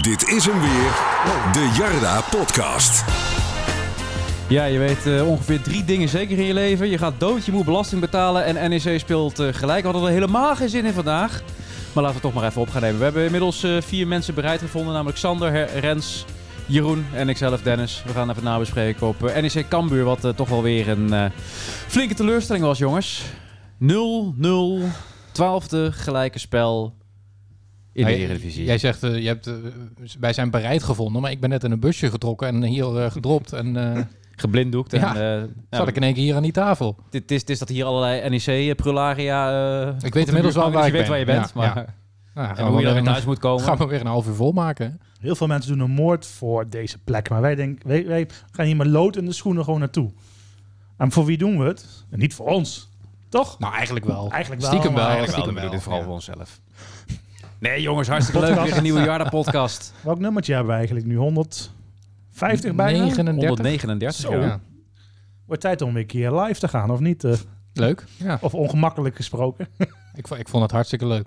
Dit is hem weer, de Jarda Podcast. Ja, je weet eh, ongeveer drie dingen zeker in je leven. Je gaat dood, je moet belasting betalen en NEC speelt eh, gelijk. We hadden er helemaal geen zin in vandaag. Maar laten we het toch maar even op gaan nemen. We hebben inmiddels eh, vier mensen bereid gevonden. Namelijk Sander, Her- Rens, Jeroen en ikzelf Dennis. We gaan even nabespreken op eh, NEC Cambuur. Wat eh, toch wel weer een eh, flinke teleurstelling was, jongens. 0-0, twaalfde gelijke spel in de Hij- Eredivisie. Jij zegt, eh, je hebt, eh, wij zijn bereid gevonden, maar ik ben net in een busje getrokken en hier eh, gedropt. En eh, Geblinddoekt. En, Ja. eh, zat nou, ik in één keer hier aan die tafel. Het is, het is dat hier allerlei E NEC-prularia... Ik weet inmiddels wel waar Dus je ik weet ben. waar je bent, Ja, maar... ja. Nou, En hoe gaan, we je weer daar weer een, thuis moet komen. gaan we weer een half uur vol maken. Heel veel mensen doen een moord voor deze plek. Maar wij, denken, wij, wij gaan hier met lood in de schoenen gewoon naartoe. En voor wie doen we het? En niet voor ons. Toch? Nou, eigenlijk wel. Eigenlijk wel. Stiekem wel. maar- Eigenlijk we wel, doen dit vooral ja. voor onszelf. Nee jongens, hartstikke leuk. Podcast. Weer een nieuwe Jarda-podcast. Welk nummertje hebben we eigenlijk nu? 150 bijna? 39. 139. Zo. ja. Ja. Wordt tijd om weer een keer live te gaan, of niet? Eh, Leuk. Ja. of ongemakkelijk gesproken. Ik, vo- ik vond het hartstikke leuk.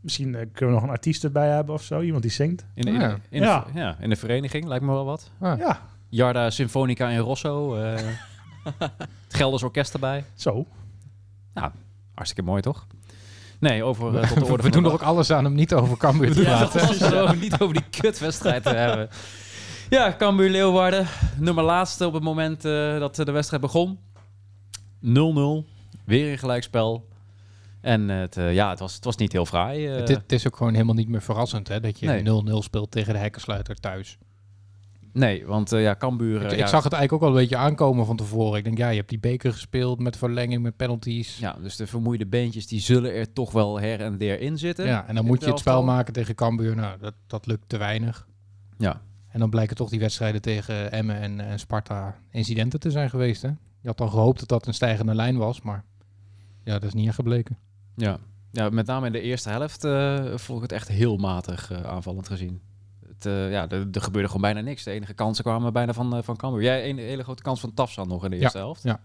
Misschien eh, kunnen we nog een artiest erbij hebben of zo. Iemand die zingt. In, in, Ja. in de, Ja. ja, in de vereniging, lijkt me wel wat. Ah. Ja, Jarda Symfonica in Rosso. eh, het Gelders Orkest erbij. zo. Hartstikke mooi toch? Nee, over eh, tot de We, orde we van doen de er ook alles aan om niet over Cambuur te Ja, dat praten. was eh, het ook, niet over die kutwedstrijd te hebben. Ja, Cambuur Leeuwarden. Nummer laatste op het moment eh, dat eh, de wedstrijd begon. 0-0. Weer een gelijkspel. En eh, het, eh, ja, het, was, het was niet heel fraai. eh. Het, is- het is ook gewoon helemaal niet meer verrassend hè, dat Nee. je 0-0 speelt tegen de hekkensluiter thuis. Nee, want eh, ja, Cambuur... eh, Ik, ja, ik zag het eigenlijk ook al een beetje aankomen van tevoren. Ik denk, ja, je hebt die beker gespeeld met verlenging, met penalties. ja, dus de vermoeide beentjes die zullen er toch wel her en der in zitten. Ja, en dan Dit moet je het spel elftal. maken tegen Cambuur. Nou, dat, dat lukt te weinig. Ja. En dan blijken toch die wedstrijden tegen Emmen en, en Sparta incidenten te zijn geweest. Hè? Je had dan gehoopt dat dat een stijgende lijn was, maar ja, dat is niet echt gebleken. Ja. ja, met name in de eerste helft eh vond ik het echt heel matig eh, aanvallend gezien. Het, eh, ja, er, er gebeurde gewoon bijna niks. De enige kansen kwamen bijna van, eh, van Cambuur. Jij een hele grote kans van Tafsan nog in de eerste helft. ja.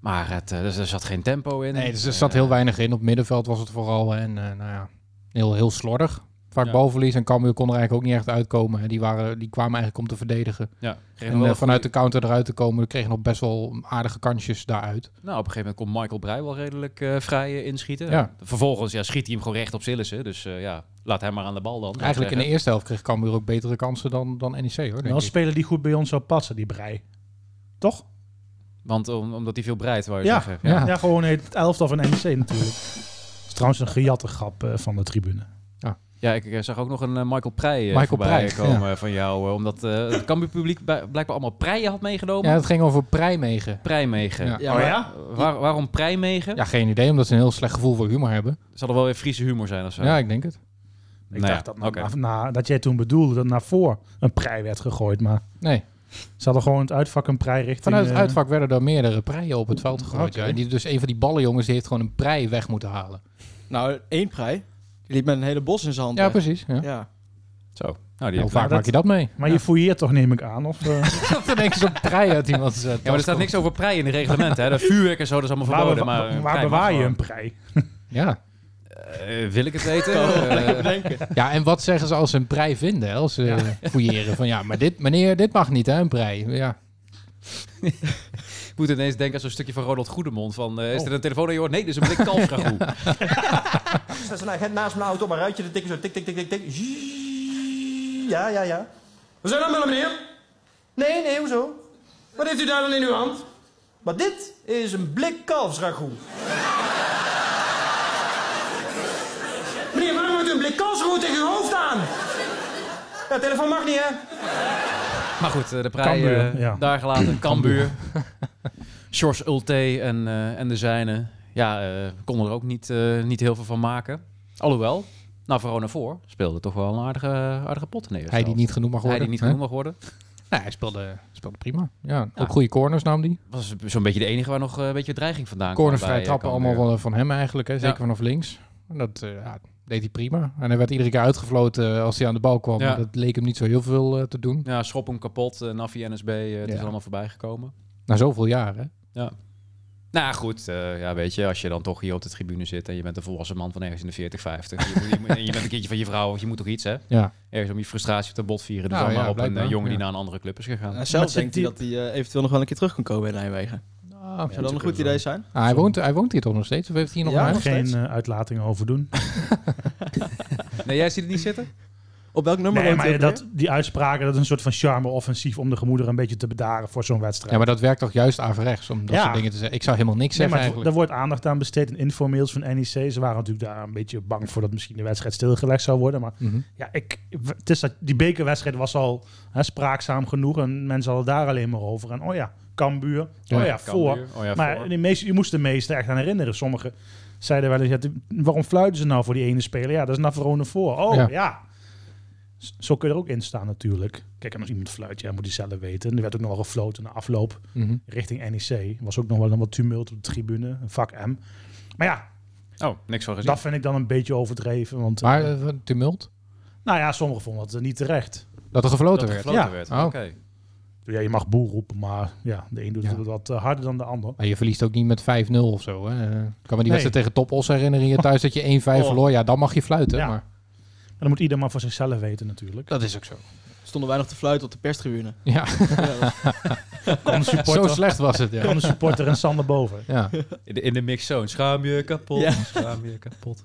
Maar het, eh, dus er zat geen tempo in. Nee, dus er Eh, zat heel weinig in. Op het middenveld was het vooral. hè, En eh, nou ja, heel, heel slordig. Vaak Ja. balverlies en Cambuur kon er eigenlijk ook niet echt uitkomen. Hè? Die, waren, die kwamen eigenlijk om te verdedigen. Ja, kreeg En nog wel eh, een vanuit goeie- de counter eruit te komen, kregen nog best wel aardige kansjes daaruit. Nou, op een gegeven moment kon Michael Breij wel redelijk eh, vrij eh, inschieten. Ja. Vervolgens ja, schiet hij hem gewoon recht op Sillissen. Dus eh, ja, laat hem maar aan de bal dan. Eigenlijk in de Zeggen. eerste helft kreeg Cambuur ook betere kansen dan, dan NEC hoor. denk Wel een ik. speler die goed bij ons zou passen, die brei. Toch? Want om- omdat hij veel breidt, wou je Ja. zeggen. e- Ja. Ja, gewoon het elftal van NEC natuurlijk. Dat is trouwens een gejatte grap eh, van de tribune. Ja, ik eh, zag ook nog een eh, Michael Prij eh, Michael voorbij Prij, komen van jou. eh, omdat eh, het Cambuurpubliek bij- blijkbaar allemaal preien had meegenomen. Ja, het ging over Nijmegen. Prijmegen. Ja. Oh maar ja? waar- waarom Prijmegen? Ja, geen idee, omdat ze een heel slecht gevoel voor humor hebben. Zal er wel weer Friese humor zijn of zo? Ja, ik denk het. Ik Nou dacht ja, dat, na- oké. na, dat jij toen bedoelde dat naar voor een prei werd gegooid. Maar Nee. ze hadden gewoon het uitvak een prei richting... Vanuit het eh, uitvak werden er meerdere preien op het veld gegooid. Oké. ja. Die, dus een van die ballenjongens die heeft gewoon een prei weg moeten halen. Nou, één prij. Die liep met een hele bos in zijn hand. Ja, weg. precies. Ja. Ja. Zo. Nou, die Hoe heb ik vaak dat- maak je dat mee? Maar je fouilleert toch, neem ik aan? Of, eh, Dat er niks zo'n prei uit iemand eh, zet. ja, maar er staat niks over prei in de reglementen. Hè? De vuurwerk en zo, dat is allemaal waar verboden. bewa- Maar, eh, waar prei mag bewaar je gewoon. een prei? Ja. Eh, wil ik het weten? Eh, ja, en wat zeggen ze als ze een prei vinden? hè? Als ze eh, fouilleren van ja, maar dit, meneer, dit mag niet hè, een prei. Ja. ik moet ineens denken aan zo'n stukje van Ronald Goedemond. Van, Oh. eh, is er een telefoon aan je hoort? Nee, dus een blik kalfsragout. Dat is een agent nou, naast mijn auto op een ruitje te tikken. Zo tik, tik, tik, tik, tik. Zzz. Ja, ja, ja. We zijn aan willen, meneer. Nee, nee, hoezo? Wat heeft u daar dan in uw hand? Maar dit is een blik kalfsragout. Meneer, waarom houdt u een blik kalsroet tegen uw hoofd aan? Ja, telefoon mag niet, Nou, hè? Maar goed, eh, de prij Cambuur, eh, ja. daar gelaten. Cambuur. Sjors Ulte en, eh, en de zijne. Ja, eh, konden er ook niet, eh, niet heel veel van maken. Alhoewel, nou, Verona voor speelde toch wel een aardige, aardige pot neer. Hij die niet genoemd mag Hij worden. die niet hè? genoemd mag worden. Nee, hij speelde, speelde prima. Ja, Ja. Ook goede corners nam die. Was zo'n beetje de enige waar nog eh, een beetje dreiging vandaan kwam. Cornervrij bij, eh, trappen Cambuur. allemaal wel van hem eigenlijk, hè? zeker Ja. vanaf links. En Dat eh, ja, deed hij prima. En hij werd iedere keer uitgefloten eh, als hij aan de bal kwam. Ja. Maar Dat leek hem niet zo heel veel eh, te doen. Ja, schop hem kapot. eh, Nafi NSB, eh, het Ja. is allemaal voorbij gekomen. Na zoveel jaren. Ja. Nou goed, eh, ja, weet je, als je dan toch hier op de tribune zit en je bent een volwassen man van ergens in de 40, 50. Je, moet- je, moet- en je bent een kindje van je vrouw, want je moet toch iets, hè? Ja. Ergens om je frustratie te bot vieren. Dus Nou, dan maar ja, op een blijkbaar, eh, jongen die ja. naar een andere club is gegaan. En Maar zelf zit denkt hij die- dat hij eh, eventueel nog wel een keer terug kan komen bij Nijmegen. Ah, Zou dat een natuurlijk goed idee zijn? Ah, hij, woont, hij woont hier toch nog steeds? Of heeft hij hier nog Ja, een nog huis? Geen steeds. eh, uitlatingen over doen. Nee, jij ziet het niet zitten? Op welk nummer Nee, woont hij maar ook dat, weer? die uitspraken, dat is een soort van charme-offensief om de gemoederen een beetje te bedaren voor zo'n wedstrijd. Ja, maar dat werkt toch juist averechts om dat Ja. soort dingen te zeggen. Ik zou helemaal niks Nee, zeggen maar het wo- eigenlijk. daar wordt aandacht aan besteed in informeels van NEC. Ze waren natuurlijk daar een beetje bang voor dat misschien de wedstrijd stilgelegd zou worden. Maar Mhm. ja, ik, het is dat, die bekerwedstrijd was al hè, spraakzaam genoeg. En mensen hadden daar alleen maar over. En oh ja, Cambuur. Ja, oh ja, voor. Cambuur. Oh ja, Maar voor. de meeste, je moest de meeste echt aan herinneren. Sommigen zeiden wel eens, ja, die- waarom fluiten ze nou voor die ene speler? Ja, dat is Navarone voor. Oh Ja. ja. Z- Zo kun je er ook in staan natuurlijk. Kijk, en als iemand fluit, ja, moet hij zelf weten. En er werd ook nog wel gefloten na afloop Mhm. richting NEC. Was ook nog wel een wat tumult op de tribune, vak M. Maar ja, Oh, niks van gezien. dat vind ik dan een beetje overdreven. Want, Maar eh, eh, van tumult? nou ja, sommigen vonden dat niet terecht. Dat er er gefloten werd. gefloten Ja. werd. Oh. Oké. Ja, je mag boer roepen, maar ja, de een doet Ja. het wat eh, harder dan de ander. Maar Ah, je verliest ook niet met 5-0 of zo. Hè? Ik kan me die Nee. wedstrijd tegen Top Os herinneren hier thuis dat je 1-5 Oh. verloor. Ja, dan mag je fluiten. Ja. Maar En dan moet ieder maar voor zichzelf weten natuurlijk. dat is ook zo. Stonden wij nog te fluiten op de perstribune. Ja, Kon de zo supporter, slecht was het. Ja. kon de supporter en Sander boven. Ja. In de, in de mix zone. Schaam je kapot. Ja. Schaam je kapot.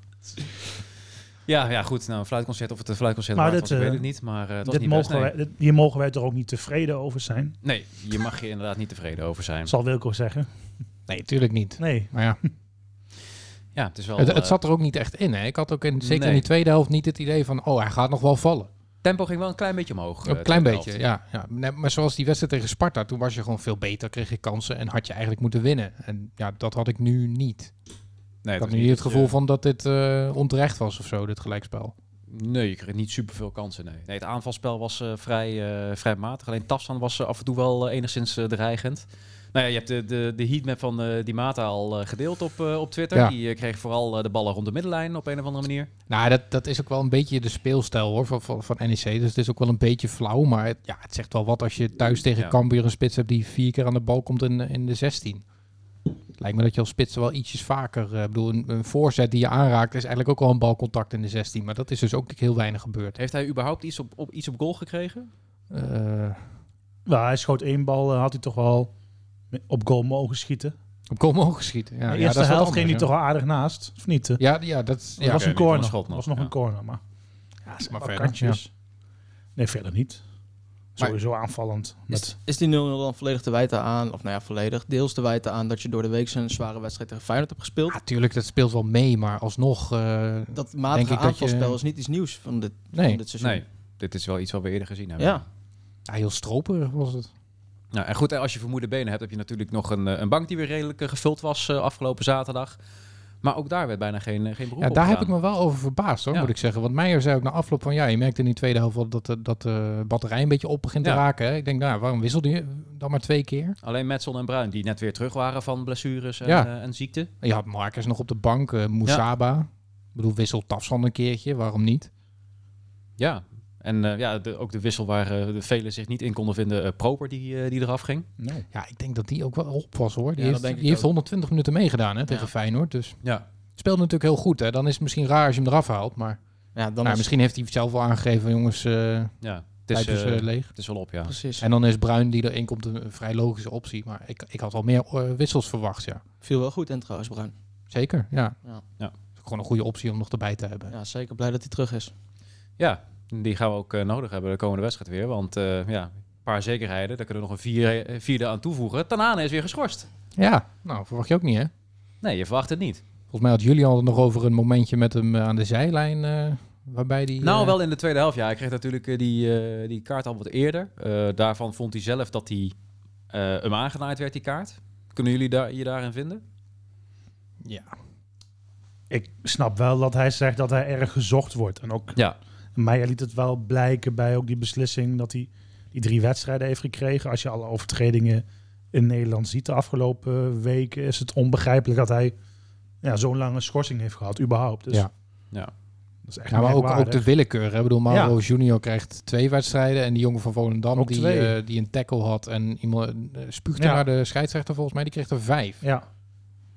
Ja, ja, goed. Nou, een fluitconcert of het een fluitconcert Maar waard dit, was, ik weet eh, het niet. Maar eh, het was Dit niet best, mogen nee. wij, dit, hier mogen wij toch ook niet tevreden over zijn? Nee, je mag je inderdaad niet tevreden over zijn. Zal Wilco zeggen. Nee, tuurlijk niet. Nee. Maar ja, Ja, het is wel... het, het eh, zat er ook niet echt in. Hè? Ik had ook in, zeker Nee. in die tweede helft niet het idee van... oh, hij gaat nog wel vallen. tempo ging wel een klein beetje omhoog. eh, Een klein tweede beetje, helft. ja. ja. Nee, maar zoals die wedstrijd tegen Sparta, toen was je gewoon veel beter, kreeg je kansen en had je eigenlijk moeten winnen. En ja, dat had ik nu niet. Nee, Ik dat had is nu niet niet, het gevoel eh, van dat dit eh, onterecht was of zo, dit gelijkspel. Nee, je kreeg niet superveel kansen. Nee. nee het aanvalspel was eh, vrij, eh, vrij matig. Alleen Tafsan was eh, af en toe wel eh, enigszins eh, dreigend. Nou ja, je hebt de, de, de heatmap van eh, die Mata al eh, gedeeld op, eh, op Twitter. Ja. Die eh, kreeg vooral eh, de ballen rond de middenlijn op een of andere manier. Nou, dat, dat is ook wel een beetje de speelstijl hoor, van, van, van NEC. Dus het is ook wel een beetje flauw, maar het, ja, het zegt wel wat als je thuis tegen Ja. Cambuur een spits hebt die vier keer aan de bal komt in, in de 16. Het lijkt me dat je als spits wel ietsjes vaker... eh, Ik bedoel, een, een voorzet die je aanraakt is eigenlijk ook al een balcontact in de 16. Maar dat is dus ook heel weinig gebeurd. Heeft hij überhaupt iets op, op, iets op goal gekregen? Eh, Nou, hij schoot één bal, eh, had hij toch wel op goal mogen schieten. op komen omhoog geschieten. Ja, de ja, eerste dat is wat helft ging hij anders, toch wel aardig naast, of niet? Het Ja, ja dat is- ja, oké, was een niet van corner. de schot nog, was nog ja. een corner, maar... Ja, maar maar verder, kantjes. Nee, verder niet. Maar- Sowieso aanvallend. Is, Met, is die 0-0 dan volledig te wijten aan, of nou ja, volledig, deels te wijten aan dat je door de week zo'n zware wedstrijd tegen Feyenoord hebt gespeeld? natuurlijk, dat speelt wel mee, maar alsnog. eh, Dat Denk matige ik dat je- aanvalspel is niet iets nieuws van dit, nee, van dit seizoen. Nee, dit is wel iets wat we eerder gezien hebben. Ja, ja, heel stroperig was het. Nou, en goed, hè, als je vermoede benen hebt, heb je natuurlijk nog een, eh, een bank die weer redelijk eh, gevuld was eh, afgelopen zaterdag. Maar ook daar werd bijna geen, eh, geen beroep Ja, op daar heb ik gedaan. me wel over verbaasd, hoor, Ja. moet ik zeggen. Want Meijer zei ook na afloop van ja, je merkt in die tweede helft wel dat, de- dat de batterij een beetje op begint Ja. te raken. Hè. Ik denk, nou, waarom wisselde je dan maar twee keer? Alleen Metson en Bruin, die net weer terug waren van blessures en, Ja. eh, en ziekte. Je had Marcus nog op de bank, eh Moussaba. Ik bedoel, wissel Tafsan een keertje, waarom niet? Ja, en eh, ja, de- ook de wissel waar eh, de velen zich niet in konden vinden, eh, Proper die, eh, die eraf ging. nee. Ja, ik denk dat die ook wel op was hoor. Die, Ja, dat heeft, denk ik die heeft ook. 120 minuten meegedaan hè, tegen Feyenoord. Dus Ja. speelde natuurlijk heel goed. Hè. Dan is het misschien raar als je hem eraf haalt. Maar ja dan nou, is misschien heeft hij zelf wel aangegeven, jongens, eh ja. Het, is, tijd is eh, eh, leeg. het is wel op, ja. precies. En dan is Bruin die erin komt een een vrij logische optie. Maar ik, ik had wel meer eh, wissels verwacht, ja. Viel wel goed in trouwens, Bruin. Zeker, ja. Ja. Ja. Is ook Gewoon een goede optie om nog erbij te hebben. Ja, zeker blij dat hij terug is. Ja, die gaan we ook eh, nodig hebben de komende wedstrijd weer. Want eh, ja, een paar zekerheden, daar kunnen we nog een vier, eh, vierde aan toevoegen. Tanane is weer geschorst. Ja. nou, verwacht je ook niet, hè? Nee, je verwacht het niet. Volgens mij had jullie al nog over een momentje met hem eh, aan de zijlijn... eh, waarbij die... Nou, eh, wel in de tweede helft. Ja, hij kreeg natuurlijk eh, die, eh, die kaart al wat eerder. Eh, daarvan vond hij zelf dat hij eh, hem aangenaaid werd, die kaart. Kunnen jullie daar, je daarin vinden? Ja. Ik snap wel dat hij zegt dat hij erg gezocht wordt. En ook Ja. Meijer liet het wel blijken bij ook die beslissing dat hij die drie wedstrijden heeft gekregen. Als je alle overtredingen in Nederland ziet de afgelopen weken, is het onbegrijpelijk dat hij ja, zo'n lange schorsing heeft gehad, überhaupt. Dus Ja. Ja. Dat is echt Ja, Nou, maar ook, ook de willekeur. Hè? Ik bedoel, Mauro Ja. Junior krijgt twee wedstrijden. En die jongen van Volendam, Ook die, twee. eh, die een tackle had en iemand eh, spuugde Ja. naar de scheidsrechter volgens mij, die kreeg er vijf. Ja,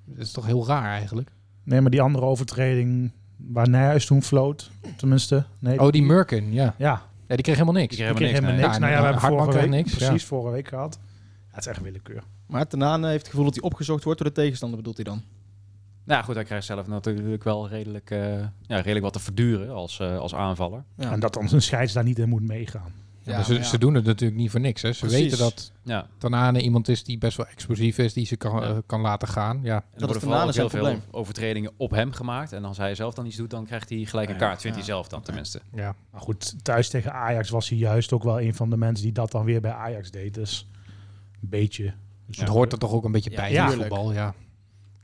Dat is toch heel raar eigenlijk. Nee, maar die andere overtreding waar Nijhuis toen floot, tenminste. Nee, Oh, die Murkin, ja. Ja, ja. Die kreeg helemaal niks. Die kregen ik kreeg helemaal nee. niks. Ja, nou ja, en we hebben Hartman vorige week, kreeg niks, ja. precies vorige week gehad. Ja, het is echt willekeur. Maar ten eh, heeft het gevoel dat hij opgezocht wordt door de tegenstander, bedoelt hij dan? Nou goed, hij krijgt zelf natuurlijk wel redelijk, eh, ja, redelijk wat te verduren als, eh, als aanvaller. Ja, En dat dan zijn scheids daar niet in moet meegaan. Ja, maar dus ze, maar ja. ze doen het natuurlijk niet voor niks. Hè. Ze Precies. weten dat Ja. Tanane iemand is die best wel explosief is, die ze kan, Ja. eh, kan laten gaan. Ja. En er Dat is worden vooral ook daarna heel zijn veel overtredingen op hem gemaakt. En als hij zelf dan iets doet, dan krijgt hij gelijk een Ja, kaart. Vindt ja. hij zelf dan tenminste. Ja. Maar goed, thuis tegen Ajax was hij juist ook wel een van de mensen die dat dan weer bij Ajax deed. Dus een beetje. Dus het hoort er toch ook een beetje Ja, bij in het tuurlijk. voetbal. Ja.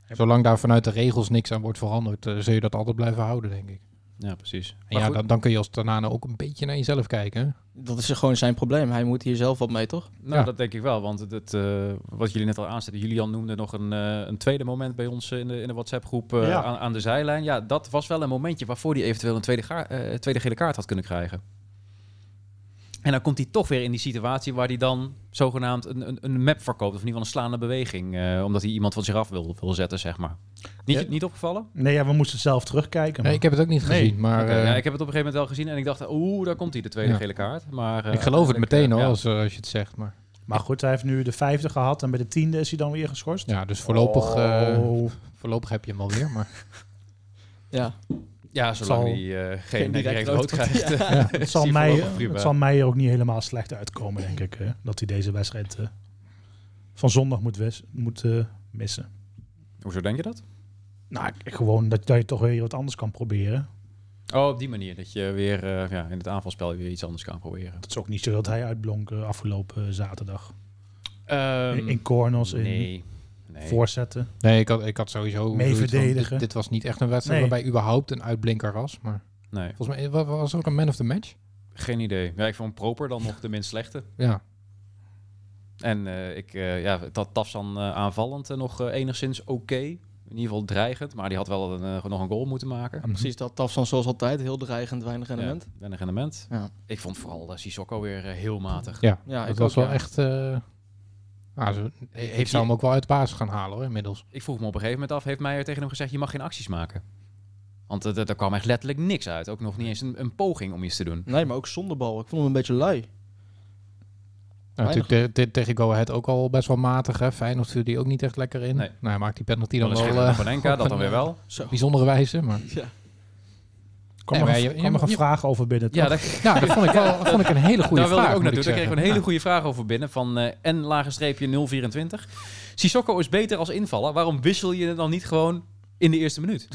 Zolang daar vanuit de regels niks aan wordt veranderd, eh, zul je dat altijd blijven houden, denk ik. Ja, precies. En ja, goed. dan, dan kun je als Tanane ook een beetje naar jezelf kijken. hè. Dat is gewoon zijn probleem. Hij moet hier zelf wat mee, toch? Nou, Ja. dat denk ik wel. Want het, het, eh, wat jullie net al aanzetten, Julian noemde nog een, eh, een tweede moment bij ons eh, in de, in de WhatsApp-groep eh, Ja. aan, aan de zijlijn. Ja, dat was wel een momentje waarvoor hij eventueel een tweede, ga- eh, tweede gele kaart had kunnen krijgen. En dan komt hij toch weer in die situatie waar hij dan zogenaamd een, een, een map verkoopt. Of in ieder geval een slaande beweging. eh, omdat hij iemand van zich af wil, wil zetten, zeg maar. Niet, Ja. niet opgevallen? Nee, ja, we moesten zelf terugkijken. Nee, maar- ik heb het ook niet Nee. gezien, maar Oké, eh, ja, ik, ik heb het op een gegeven moment wel gezien en ik dacht, oeh, daar komt hij, de tweede Ja. gele kaart. Maar, eh, geloof het uiteindelijk, meteen eh, hoor, ja. als, eh, als je het zegt. Maar, Maar goed, hij heeft nu de vijfde gehad en bij de tiende is hij dan weer geschorst. ja, dus voorlopig, eh, Oh. voorlopig heb je hem alweer. Maar Ja. Ja, zolang zal- hij eh, geen direct direct rood rood krijgt. eh, het, is zal hij mij, voorlopig prima. het zal mij er ook niet helemaal slecht uitkomen, denk ik. Hè? Dat hij deze wedstrijd eh, van zondag moet, wis- moet eh, missen. Hoezo denk je dat? Nou, ik- gewoon dat, dat je toch weer wat anders kan proberen. Oh, op die manier. Dat je weer eh, ja, in het aanvalspel weer iets anders kan proberen. Het is ook niet zo dat hij uitblonk eh, afgelopen zaterdag. in, in Ehm corners, in nee. nee. voorzetten. nee, ik had, ik had sowieso... Mee zoiets van, verdedigen. Dit, dit was niet echt een wedstrijd Nee. waarbij überhaupt een uitblinker was. Maar Nee, volgens mij wa- wa- was er ook een man of the match. geen idee. Ja, ik vond Proper dan nog de minst slechte. Ja, En eh, ik eh, ja, dat Tafsan eh, aanvallend eh, nog eh, enigszins oké. In ieder geval dreigend, maar die had wel een, eh, nog een goal moeten maken. Precies dat. Tafsan zoals altijd. Heel dreigend, weinig rendement. Ja, weinig rendement. Ja. Ik vond vooral eh, Sissoko weer eh, heel matig. ja. Ja, dat ik was ook, wel ja. echt... eh nou, ze, ik heeft zou hij- hem ook wel uit de basis gaan halen hoor, inmiddels. Ik vroeg me op een gegeven moment af, heeft Meijer tegen hem gezegd, je mag geen acties maken? Want eh, er er kwam echt letterlijk niks uit. Ook nog niet eens een, een poging om iets te doen. Nee, maar ook zonder bal. Ik vond hem een beetje lui. Nou, natuurlijk de- de- tegen Go Ahead ook al best wel matig. Hè. Feyenoord viel die ook niet echt lekker in. Nee. Nou, hij maakt die Dan penalty dan is wel schitterende eh, Panenka, op dat dan een, weer wel. Zo. bijzondere wijze. Maar... Ja. Kom Nee, maar, maar een- je- kwam er een je- vraag over binnen. Ja, toch? daar, Nou, dat vond ik wel vond ik een hele goede daar wilde vraag. ik ook moet naartoe. Daar kregen we zeggen. een hele goede vraag over binnen van eh n lage streepje 024. Sissoko is beter als invaller. Waarom wissel je het dan niet gewoon in de eerste minuut?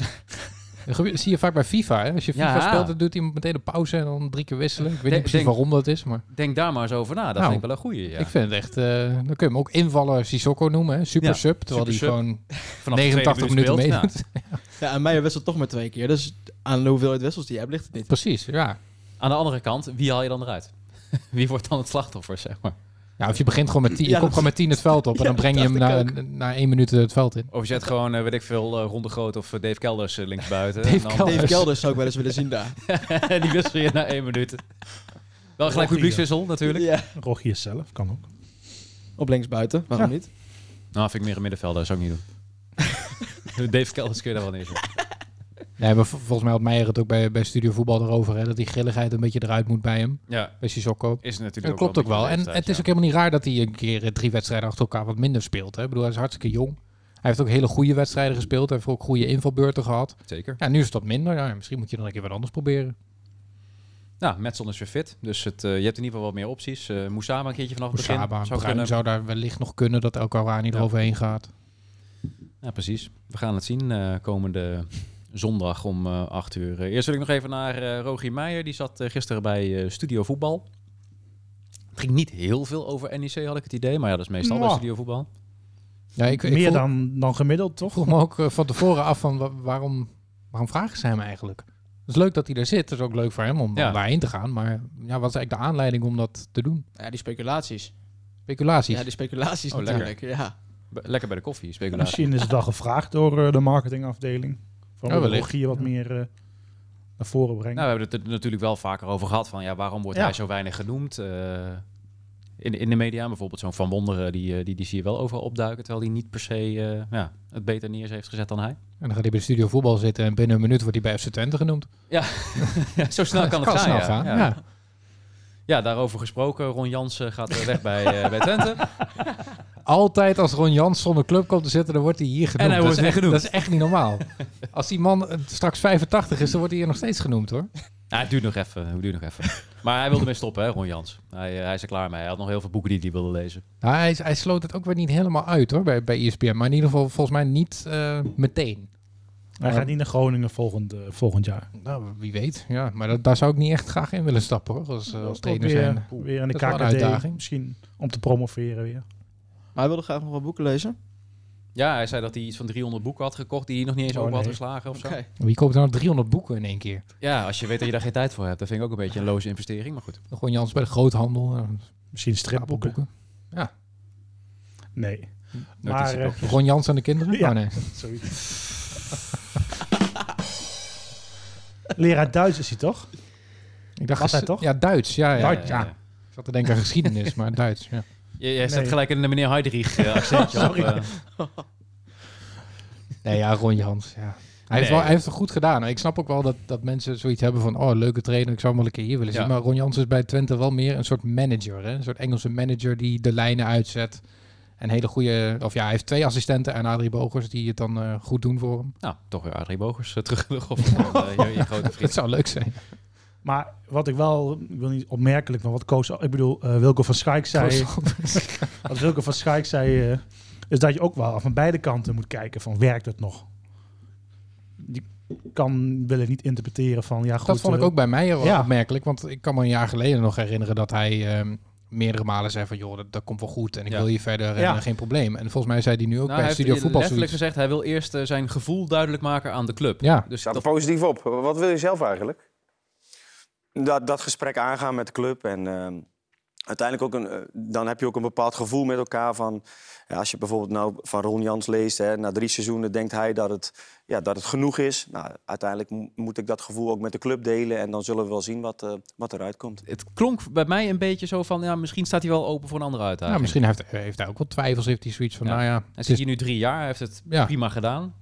Dat gebeurt- zie je vaak bij FIFA. Hè? Als je FIFA Ja. speelt, dan doet iemand meteen een pauze en dan drie keer wisselen. Ik weet Denk- niet precies denk- waarom dat is, maar Denk daar maar eens over na. Dat Nou, vind ik wel een goeie. Ja. ik vind het echt... eh, dan kun je hem ook invaller Sissoko noemen, hè? super Ja, sub. Terwijl super hij sub. gewoon Vanaf de tweede 89 minuut minuten speelt, meedoet. Ja, en Meijer wisselt toch maar twee keer. Dus aan de hoeveelheid wissels die je hebt, ligt het niet. Precies, ja. nou, aan de andere kant, wie haal je dan eruit? wie wordt dan het slachtoffer, zeg maar? Ja, of je begint gewoon met 10, je Ja, komt dat- gewoon met 10 het veld op en Ja, dan breng je hem dat dacht na, ik na één minuut het veld in. Of je zet gewoon, eh, weet ik veel, eh, Ronde Groot of eh, Dave Kelders eh, linksbuiten. Dave En dan- Kelders. Dave Kelders zou ik wel eens willen zien daar. die wissel je na één minuut. Wel gelijk publiekswissel, natuurlijk. Ja. Rogier zelf, kan ook. Op linksbuiten, waarom niet? Nou, vind ik meer een middenvelder, zou ik niet doen. Dave Kelders kun je daar wel neerzetten. Nee, maar vol- volgens mij had Meijer het ook bij, bij Studio Voetbal erover, hè? Dat die grilligheid een beetje eruit moet bij hem. Ja, Bij Sissoko. is natuurlijk Dat klopt ook wel. En het is ook helemaal niet raar dat hij een keer eh, drie wedstrijden achter elkaar wat minder speelt. Hè? Ik bedoel, hij is hartstikke jong. Hij heeft ook hele goede wedstrijden gespeeld. Hij heeft ook goede invalbeurten gehad. Zeker. Ja, nu is het wat minder. Ja, misschien moet je dan een keer wat anders proberen. Nou, Metson is weer fit. Dus het, eh, je hebt in ieder geval wat meer opties. Eh Moussama een keertje vanaf het begin. Saba, zou Bruin kunnen. zou daar wellicht nog kunnen dat El Karouani Ja. eroverheen gaat. Ja, precies. We gaan het zien eh, komende zondag om eh 8 uur. Eh, eerst wil ik nog even naar eh, Rogier Meijer. Die zat eh, gisteren bij eh, Studio Voetbal. Het ging niet heel veel over NEC, had ik het idee. Maar ja, dat is meestal bij Nou. Studio Voetbal. Ja, ik, ik Meer vroeg, dan, dan gemiddeld, toch? vroeg me ook eh, van tevoren af van wa- waarom, waarom vragen ze hem eigenlijk? Het is leuk dat hij daar zit. Het is ook leuk voor hem om Ja. daarheen te gaan. Maar ja, wat is eigenlijk de aanleiding om dat te doen? Ja, die speculaties. Speculaties. Ja, die speculaties Oh, lekker. natuurlijk. Ja. Be- lekker bij de koffie, speculatie. Misschien is het dan gevraagd door eh, de marketingafdeling. Van Ja, oh, wellicht. Rogier wat meer eh, naar voren brengen. Nou, we hebben het er natuurlijk wel vaker over gehad. Van, ja, waarom wordt Ja. hij zo weinig genoemd? Eh, in, in de media bijvoorbeeld zo'n Van Wonderen, die, eh, die, die zie je wel overal opduiken. Terwijl hij niet per se eh, ja, het beter neer heeft gezet dan hij. En dan gaat hij bij de studio voetbal zitten en binnen een minuut wordt hij bij FC Twente genoemd. Ja, zo snel Nou, kan het gaan. snel ja. gaan. Ja. ja. Ja, daarover gesproken. Ron Jansen gaat eh, weg bij, eh, bij Twente. Altijd als Ron Jans zonder club komt te zitten, dan wordt hij hier genoemd. hij wordt dat, weer is echt, genoemd. dat is echt niet normaal. als die man eh, straks 85 is, dan wordt hij hier nog steeds genoemd hoor. Nou, het duurt nog even. Het duurt nog even. Maar hij wilde mee stoppen, hè, Ron Jans. Hij, eh, hij is er klaar mee. Hij had nog heel veel boeken die hij wilde lezen. Nou, hij, hij sloot het ook weer niet helemaal uit hoor, bij, E bij ESPN. Maar in ieder geval volgens mij niet eh, meteen. Hij eh, gaat niet naar Groningen volgend, eh, volgend jaar. Nou, wie weet. Ja, maar dat, daar zou ik niet echt graag in willen stappen hoor, als, eh, als Ook trainer weer, zijn. Weer aan de dat is wel een KKD. uitdaging. Misschien om te promoveren weer. Maar hij wilde graag nog wat boeken lezen. Ja, hij zei dat hij iets van 300 boeken had gekocht die hij nog niet eens Oh, open had nee. geslagen of zo. Oké. Wie koopt nou 300 boeken in één keer? Ja, als je weet dat je daar geen tijd voor hebt. Dat vind ik ook een beetje een loze investering, maar goed. Ron Jans bij de groothandel. eh, Misschien stapel stripboeken. boeken. Nee. Hm, dat Maar is het eh, ook. Ron Jans en de kinderen? Ja. Oh, nee. zoiets. Leraar Duits is hij toch? Ik dacht, Was hij ges- toch? Ja, Duits. Ja, ja. Eh, Duits, ja. Ik zat te denken aan geschiedenis, maar Duits. Ja. Je, jij zet Nee. gelijk een eh, meneer Heidrich eh, accentje op. Sorry. eh. Nee, ja, Ron Jans. Ja. Hij, heeft Nee. wel, hij heeft het goed gedaan. Ik snap ook wel dat, dat mensen zoiets hebben van... oh, leuke trainer, ik zou hem wel een keer hier willen zien. Ja. Maar Ron Jans is bij Twente wel meer een soort manager. Hè? Een soort Engelse manager die de lijnen uitzet. En hele goede... Of ja, hij heeft twee assistenten en Adrie Bogers... die het dan eh, goed doen voor hem. nou, toch weer Adrie Bogers eh, terug. Of eh, je, je grote Dat vriend. zou leuk zijn. Maar wat ik wel, ik wil niet opmerkelijk, maar wat Koos, ik bedoel, eh, Wilco van Schaik zei, wat Wilco van Schaik zei, eh, is dat je ook wel van beide kanten moet kijken van werkt het nog? Die kan wil ik niet interpreteren van ja goed. dat vond ik eh, ook bij mij heel ja. opmerkelijk. Want ik kan me een jaar geleden nog herinneren dat hij ehm, meerdere malen zei van... joh, dat, dat komt wel goed en ik Ja. wil je verder en Ja. eh, geen probleem. En volgens mij zei hij nu Nou, ook hij bij heeft Studio Voetbal letterlijk zoiets. gezegd, hij wil eerst eh, zijn gevoel duidelijk maken aan de club. Ja. Dus Staat dat- er positief op. Wat wil je zelf eigenlijk? Dat, dat gesprek aangaan met de club. En ehm, uiteindelijk ook een, eh, dan heb je ook een bepaald gevoel met elkaar. Van, ja, als je bijvoorbeeld nou van Ron Jans leest, hè, na drie seizoenen denkt hij dat het, ja, dat het genoeg is. Nou, uiteindelijk mo- moet ik dat gevoel ook met de club delen. En dan zullen we wel zien wat, eh, wat eruit komt. het klonk bij mij een beetje zo van, ja, misschien staat hij wel open voor een andere uitdaging. Nou, misschien heeft, heeft hij ook wel twijfels. Heeft hij zoiets van, Ja. nou ja... Hij het zit is hier nu drie jaar, hij heeft het Ja. prima gedaan.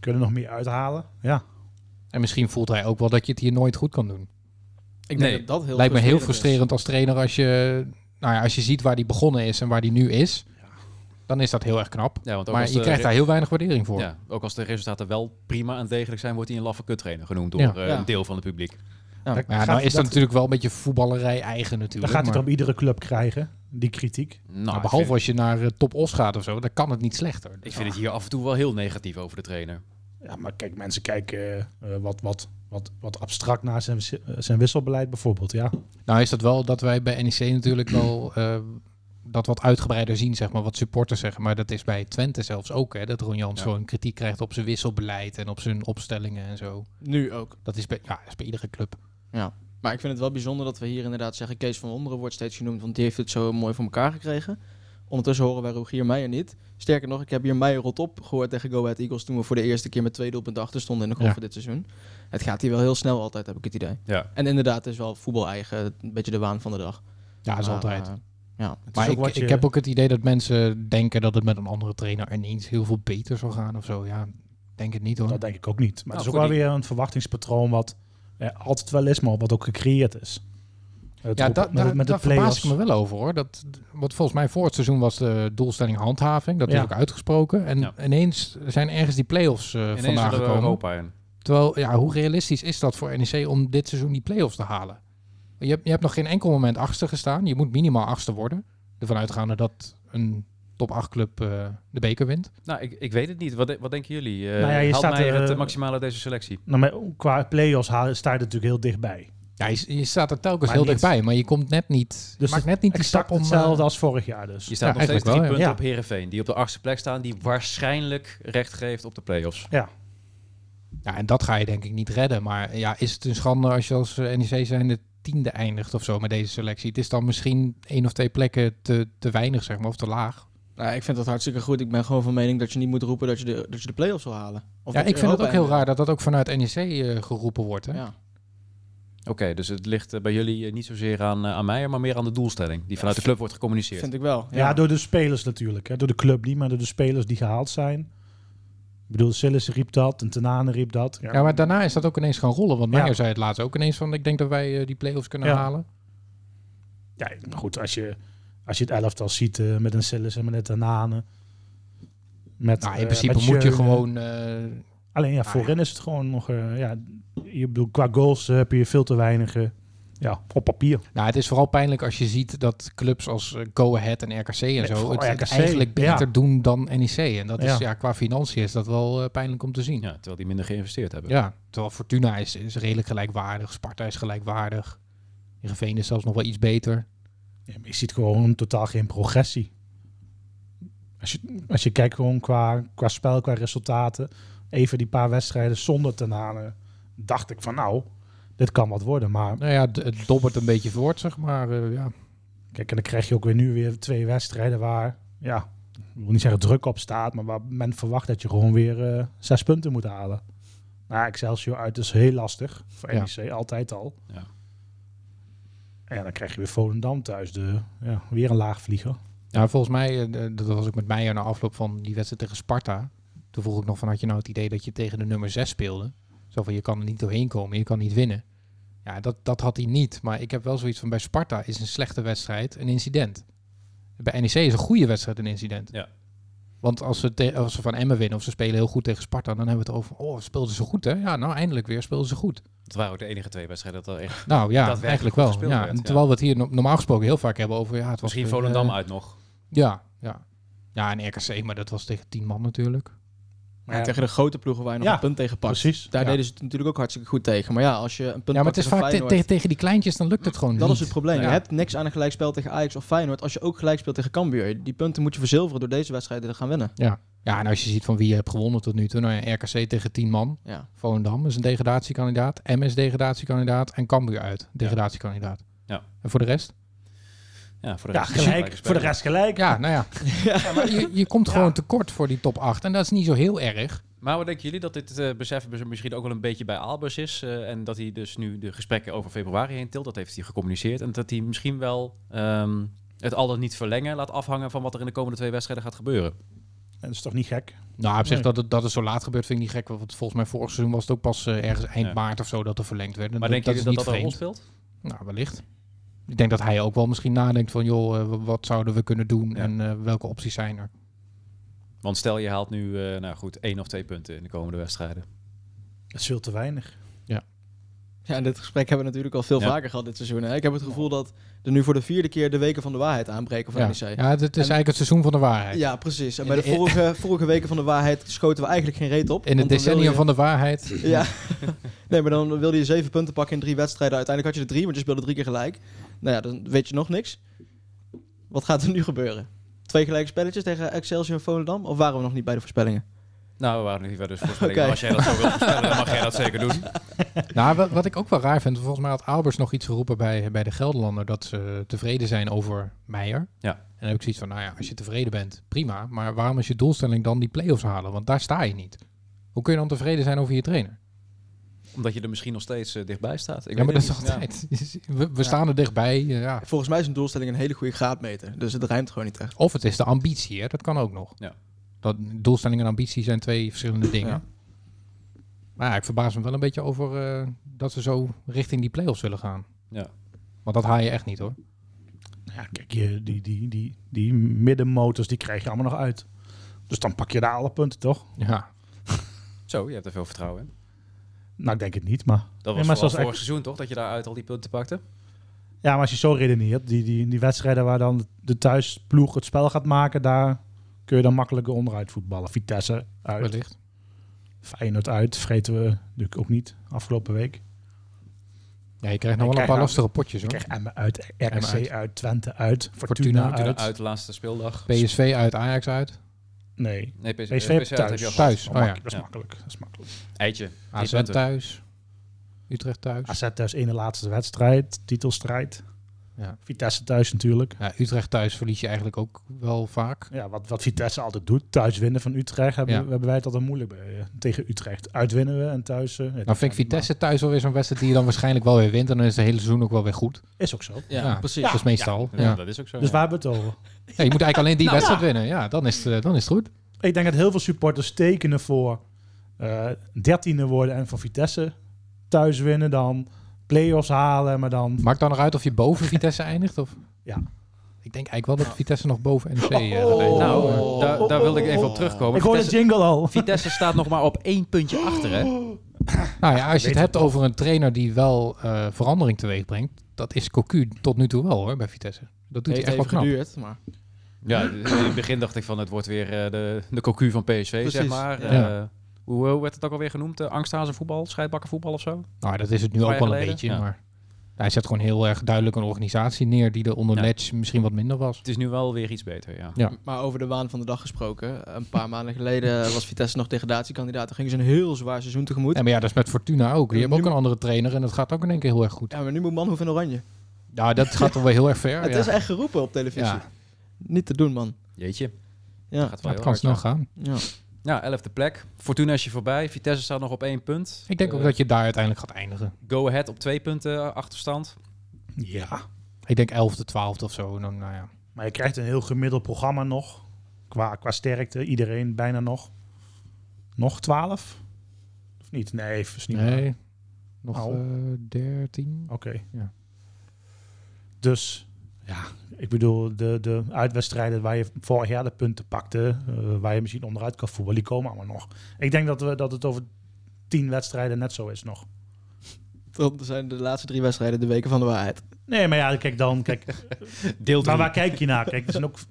kunnen we nog meer uithalen. Ja. En misschien voelt hij ook wel dat je het hier nooit goed kan doen. Ik denk Nee, dat dat heel Lijkt me heel is. frustrerend als trainer als je, nou ja, als je ziet waar die begonnen is en waar die nu is. Dan is dat heel erg knap. Ja, want ook Maar als je de krijgt re- daar heel weinig waardering voor. ja, ook als de resultaten wel prima en degelijk zijn, wordt hij een laffe kuttrainer genoemd door Ja. eh, Ja. een deel van het publiek. Dat Maar ja, gaat- nou is dat, dat- natuurlijk wel een beetje voetballerij eigen Dan natuurlijk. gaat maar- hij toch op iedere club krijgen, die kritiek. Nou, nou, ik behalve vind, als je naar eh, Top Os gaat of zo, dan kan het niet slechter. ik vind het hier af en toe wel heel negatief over de trainer. Ja, maar kijk, mensen kijken eh, eh, wat, wat, wat, wat abstract naar zijn, wis- eh, zijn wisselbeleid bijvoorbeeld. Ja. Nou is dat wel dat wij bij NEC natuurlijk wel eh, dat wat uitgebreider zien, zeg maar, wat supporters zeggen. Maar dat is bij Twente zelfs ook, hè, dat Ron Jans Ja. gewoon kritiek krijgt op zijn wisselbeleid en op zijn opstellingen en zo. Nu ook. Dat is bij, ja, dat is bij iedere club. Maar ik vind het wel bijzonder dat we hier inderdaad zeggen... Kees van Wonderen wordt steeds genoemd, want die heeft het zo mooi voor elkaar gekregen. Ondertussen horen wij Rogier Meijer niet. Sterker nog, ik heb hier Meijer rot op gehoord tegen Go Ahead Eagles... toen we voor de eerste keer met twee doelpunten achter stonden in de kop Ja. van dit seizoen. Het gaat hier wel heel snel altijd, heb ik het idee. Ja. En inderdaad, het is wel voetbal eigen, een beetje de waan van de dag. Ja, dat is Maar, altijd. eh, Het maar is ook ik, wat je- ik heb ook het idee dat mensen denken dat het met een andere trainer ineens heel veel beter zal gaan of zo. Ja, ik denk het niet hoor. Dat denk ik ook niet. Maar Nou, het is ook goed, wel weer een verwachtingspatroon wat er altijd wel is, maar wat ook gecreëerd is. Eh, Het ja, roepen- da, da, met, met de daar verbaas players. ik me wel over hoor. Dat, wat volgens mij voor het seizoen was de doelstelling handhaving. Dat is Ja. ook uitgesproken. En Ja. ineens zijn ergens die play-offs eh, Ineens vandaan willen we gekomen. Europa in. Terwijl, ja, hoe realistisch is dat voor NEC om dit seizoen die play-offs te halen? Je hebt, je hebt nog geen enkel moment achtste gestaan. Je moet minimaal achtste worden. Ervan uitgaande dat een top 8 club eh, de beker wint. Nou, ik, ik weet het niet. Wat, de- wat denken jullie? Eh Nou ja, je haalt staat, Meijer het eh, eh, maximale uit deze selectie? Nou, maar qua play-offs halen- sta je er natuurlijk heel dichtbij. Ja, je, je staat er telkens Maar heel niet- dichtbij, maar je komt net niet. Dus Dus maakt net niet die Exact stap om. eh, hetzelfde als vorig jaar dus. Je staat Ja, nog steeds eigenlijk drie wel, ja. punten Ja. op Herenveen, die op de achtste plek staan, die waarschijnlijk recht geeft op de play-offs. ja, en dat ga je denk ik niet redden. Maar ja, is het een schande als je als eh, NEC zijn de tiende eindigt of zo met deze selectie? Het is dan misschien één of twee plekken te, te weinig, zeg maar, of te laag. Nou, ik vind dat hartstikke goed. Ik ben gewoon van mening dat je niet moet roepen dat je de, dat je de play-offs wil halen. Of ja, dat ik vind het Europa ook E heel eindigt. raar dat dat ook vanuit NEC eh, geroepen wordt. Hè? Ja. Oké, dus het ligt eh, bij jullie eh, niet zozeer aan, eh, aan mij, maar meer aan de doelstelling die vanuit de club wordt gecommuniceerd. Vind ik wel. Ja, door de spelers natuurlijk. Hè. Door de club niet, maar door de spelers die gehaald zijn. Ik bedoel, Sillis riep dat en Tenane riep dat. Ja, Ja, maar daarna is dat ook ineens gaan rollen. Want Meijer Ja. zei het laatst ook ineens van... ik denk dat wij eh, die play-offs kunnen Ja. halen. ja, maar goed, als je, als je het elftal ziet eh, met een Sillis en met een Tenane. Met, Nou, eh, in principe met moet je Schöne. gewoon... eh, Alleen ja, voorin is het gewoon nog... eh, ja, je bedoel, qua goals eh, heb je veel te weinig eh, ja, op papier. nou, het is vooral pijnlijk als je ziet dat clubs als eh, Go Ahead en RKC en zo... vooral het, het RKC, eigenlijk ja. beter doen dan NEC. En dat is, ja. Ja. qua financiën is dat wel eh, pijnlijk om te zien. Ja, terwijl die minder geïnvesteerd hebben. Ja, terwijl Fortuna is, is redelijk gelijkwaardig. Sparta is gelijkwaardig. Heerenveen is zelfs nog wel iets beter. Ja, maar je ziet gewoon totaal geen progressie. Als je, als je kijkt gewoon qua, qua spel, qua resultaten. Even die paar wedstrijden zonder ten halen. Dacht ik van nou, dit kan wat worden. Maar Nou ja, d- het dobbert een beetje voort, zeg maar. eh, ja. kijk, en dan krijg je ook weer nu weer twee wedstrijden waar... Ja, ik wil niet zeggen druk op staat. Maar waar men verwacht dat je gewoon weer eh, zes punten moet halen. Nou, Excelsior uit is heel lastig. Voor Ja. NEC altijd al. Ja. En dan krijg je weer Volendam thuis. De, ja, weer een laagvlieger. Ja, volgens mij, eh, d- dat was ook met Meijer na afloop van die wedstrijd tegen Sparta. Toen vroeg ik nog van, had je nou het idee dat je tegen de nummer 6 speelde? Zo van, je kan er niet doorheen komen, je kan niet winnen. Ja, dat, dat had hij niet. Maar ik heb wel zoiets van, bij Sparta is een slechte wedstrijd een incident. Bij NEC is een goede wedstrijd een incident. Ja. Want als ze, te- als ze van Emmen winnen of ze spelen heel goed tegen Sparta, dan hebben we het over, oh, speelden ze goed hè? Ja, nou eindelijk weer speelden ze goed. Dat waren ook de enige twee wedstrijden dat er echt... Nou ja, Daadwerkelijk eigenlijk goed wel. gespeeld Ja, werd, en ja. terwijl we het hier no- normaal gesproken heel vaak hebben over, ja, het was Misschien weer, Volendam eh, uit nog. ja, ja. Ja, en RKC, maar dat was tegen tien man natuurlijk. Maar ja, tegen de grote ploegen waar je nog Ja, een punt tegen pakt. Precies. Daar Ja. deden ze het natuurlijk ook hartstikke goed tegen. Maar ja, als je een punt Ja, maar het pakt is tegen vaak te- Feyenoord, te- tegen die kleintjes, dan lukt het gewoon dat niet. is het probleem. Ja. Je hebt niks aan een gelijkspel tegen Ajax of Feyenoord als je ook gelijk speelt tegen Cambuur. Die punten moet je verzilveren door deze wedstrijden te gaan winnen. Ja, en als je ziet van wie je hebt gewonnen tot nu toe. Nou ja, RKC tegen tien man. Ja. Volendam is een degradatiekandidaat. M is degradatiekandidaat. En Cambuur uit, degradatiekandidaat. Ja. En voor de rest? Ja, voor de Ja, rest gelijk. Voor de rest gelijk. Ja, nou ja. Ja, maar je, je komt gewoon tekort voor die top 8. En dat is niet zo heel erg. Maar wat denken jullie dat dit eh besef misschien ook wel een beetje bij Albers is? eh, en dat hij dus nu de gesprekken over februari heen tilt, dat heeft hij gecommuniceerd. En dat hij misschien wel ehm, het al dan niet verlengen laat afhangen van wat er in de komende twee wedstrijden gaat gebeuren. En Dat is toch niet gek? Nou, op zich Nee. dat, het, dat het zo laat gebeurt vind ik niet gek. Want volgens mij vorig seizoen was het ook pas eh, ergens eind Ja. maart of zo dat er verlengd werd. En Maar denken is jullie dat niet dat een rol vreemd. speelt? Nou, wellicht. Ik denk dat hij ook wel misschien nadenkt van, joh, eh, w- wat zouden we kunnen doen Ja. en eh, welke opties zijn er? Want stel je haalt nu, eh, nou goed, één of twee punten in de komende wedstrijden. Dat is veel te weinig. Ja, en dit gesprek hebben we natuurlijk al veel Ja. vaker gehad dit seizoen. Hè? Ik heb het gevoel dat er nu voor de vierde keer de weken van de waarheid aanbreken van Ja, NEC. ja het, het is eigenlijk het seizoen van de waarheid. Ja, precies. En In bij de de- vorige, vorige weken van de waarheid schoten we eigenlijk geen reet op. In het Want dan decennium wil je- van de waarheid. Ja. nee, maar dan wilde je zeven punten pakken in drie wedstrijden. Uiteindelijk had je er drie, want je speelde drie keer gelijk. Nou ja, dan weet je nog niks. Wat gaat er nu gebeuren? Twee gelijke spelletjes tegen Excelsior en Volendam? Of waren we nog niet bij de voorspellingen? Nou, we waren nog niet verder dus voorspellingen. Maar Oké. Als jij dat zo wilt voorspellen, dan mag jij dat zeker doen. Nou, wa- wat ik ook wel raar vind, volgens mij had Albers nog iets geroepen bij, bij de Gelderlander dat ze tevreden zijn over Meijer. Ja. En dan heb ik zoiets van, nou ja, als je tevreden bent, prima. Maar waarom is je doelstelling dan die play-offs halen? Want daar sta je niet. Hoe kun je dan tevreden zijn over je trainer? Omdat je er misschien nog steeds eh, dichtbij staat. Ik ja, maar weet dat het is niet. Ja. altijd. We, we staan er dichtbij. eh, Ja. Volgens mij is een doelstelling een hele goede graadmeter. Dus het ruimt gewoon niet echt. Of het is de ambitie, hè? dat kan ook nog. Ja. Dat, doelstelling en ambitie zijn twee verschillende dingen. Ja. Maar ja, ik verbaas me wel een beetje over eh, dat ze zo richting die play-offs zullen gaan. Ja. Want dat haal je echt niet hoor. Ja, kijk, je, die, die, die, die middenmotors die krijg je allemaal nog uit. Dus dan pak je daar alle punten, toch? Ja. Zo, je hebt er veel vertrouwen in. Nou, ik denk het niet, maar... Dat was maar vooral zoals vorig echt- seizoen, toch? Dat je daaruit al die punten pakte? Ja, maar als je zo redeneert, die, die, die wedstrijden waar dan de thuisploeg het spel gaat maken, daar kun je dan makkelijker onderuit voetballen. Vitesse uit, Wellicht. Feyenoord uit, vreten we natuurlijk ook niet afgelopen week. Ja, je krijgt nog Ik wel een paar krijg nou- lastige potjes Ik hoor. kreeg Emmen uit, Emmen RKC uit. uit, Twente uit, Fortuna, Fortuna uit. Uit, uit de laatste speeldag. PSV uit, Ajax uit. Nee, Nee, PSV, PSV uit thuis. heb je al gehad. Thuis. dat, Oh is ja. mak- dat is Ja. makkelijk. Dat is makkelijk. Eitje. Drie AZ punten. thuis. Utrecht thuis. AZ thuis in de laatste wedstrijd, titelstrijd. Ja. Vitesse thuis natuurlijk. Ja, Utrecht thuis verlies je eigenlijk ook wel vaak. Ja, wat, wat Vitesse altijd doet, thuis winnen van Utrecht, hebben, Ja. hebben wij het altijd moeilijk bij. eh, Tegen Utrecht uitwinnen we en thuis... eh, ja, dat Dan Nou, vind ik kan niet, maar Vitesse thuis wel weer zo'n wedstrijd die je dan waarschijnlijk wel weer wint. En dan is het hele seizoen ook wel weer goed. Is ook zo. Ja, Ja. precies. dat is meestal. Ja. dat is ook zo. Dus ja. waar hebben we het over? Ja, je moet eigenlijk alleen die Nou, wedstrijd winnen. Ja, dan is, het, eh, dan is het goed. Ik denk dat heel veel supporters tekenen voor eh, dertiende worden en van Vitesse thuis winnen. Dan play-offs halen, maar Oh, dan... Maakt dan nog uit of je boven Vitesse eindigt? Of? Ja. Ik denk eigenlijk wel dat Vitesse nog boven NEC... eh, Oh. rijdt. Nou, Maar- daar, daar wilde ik even op terugkomen. ik hoor de Vitesse, jingle al. Vitesse staat nog maar op één puntje achter, hè? eh, Nou ja, als je het Weet hebt over een trainer die wel eh, verandering teweeg brengt, dat is Cocu tot nu toe wel hoor bij Vitesse. Dat doet heeft hij echt even wel knap. geduurd, maar Ja, in het begin dacht ik van het wordt weer eh, de, de cocu van PSV, zeg Precies, maar. ja. Eh, hoe, hoe werd het ook alweer genoemd? Eh, angsthazenvoetbal, scheidbakkenvoetbal of zo? Nou, dat is het nu Paar ook jaar wel een geleden, beetje, ja. maar hij zet gewoon heel erg duidelijk een organisatie neer die er onder Ja. Letch misschien wat minder was. Het is nu wel weer iets beter, ja. Maar over de waan van de dag gesproken. Een paar maanden geleden was Vitesse nog degradatiekandidaat. Toen gingen ze een heel zwaar seizoen tegemoet. En maar ja, dat is met Fortuna ook. Die Ja, hebben ook nu- een andere trainer en dat gaat ook in één keer heel erg goed. Ja, maar nu moet Manhoef in oranje. Nou, dat gaat toch wel heel erg ver. het Oh, ja. is echt geroepen op televisie. ja, Niet te doen, man. Jeetje. Ja. Gaat dat wel kan heel snel hard. gaan. Ja. Ja, elfde plek. Fortuna is je voorbij. Vitesse staat nog op één punt. Ik denk ook Eh, dat je daar uiteindelijk gaat eindigen. Go Ahead op twee punten eh, achterstand. Ja, Ik denk 11e, 12e of zo. Nou, nou ja. maar je krijgt een heel gemiddeld programma nog. Qua, qua sterkte, iedereen bijna nog. Nog 12? Of niet? Nee, is niet waar. Nee, nog Au. Oh, eh 13. Oké. Ja. Dus ja, ik bedoel, de, de uitwedstrijden waar je vorig jaar de punten pakte, eh, waar je misschien onderuit kan voetballen, die komen allemaal nog. Ik denk dat, we, dat het over tien wedstrijden net zo is nog. Dat zijn de laatste drie wedstrijden de weken van de waarheid. Nee, maar ja, kijk dan, kijk, Deel maar drie. waar kijk je naar? Kijk, er zijn ook, er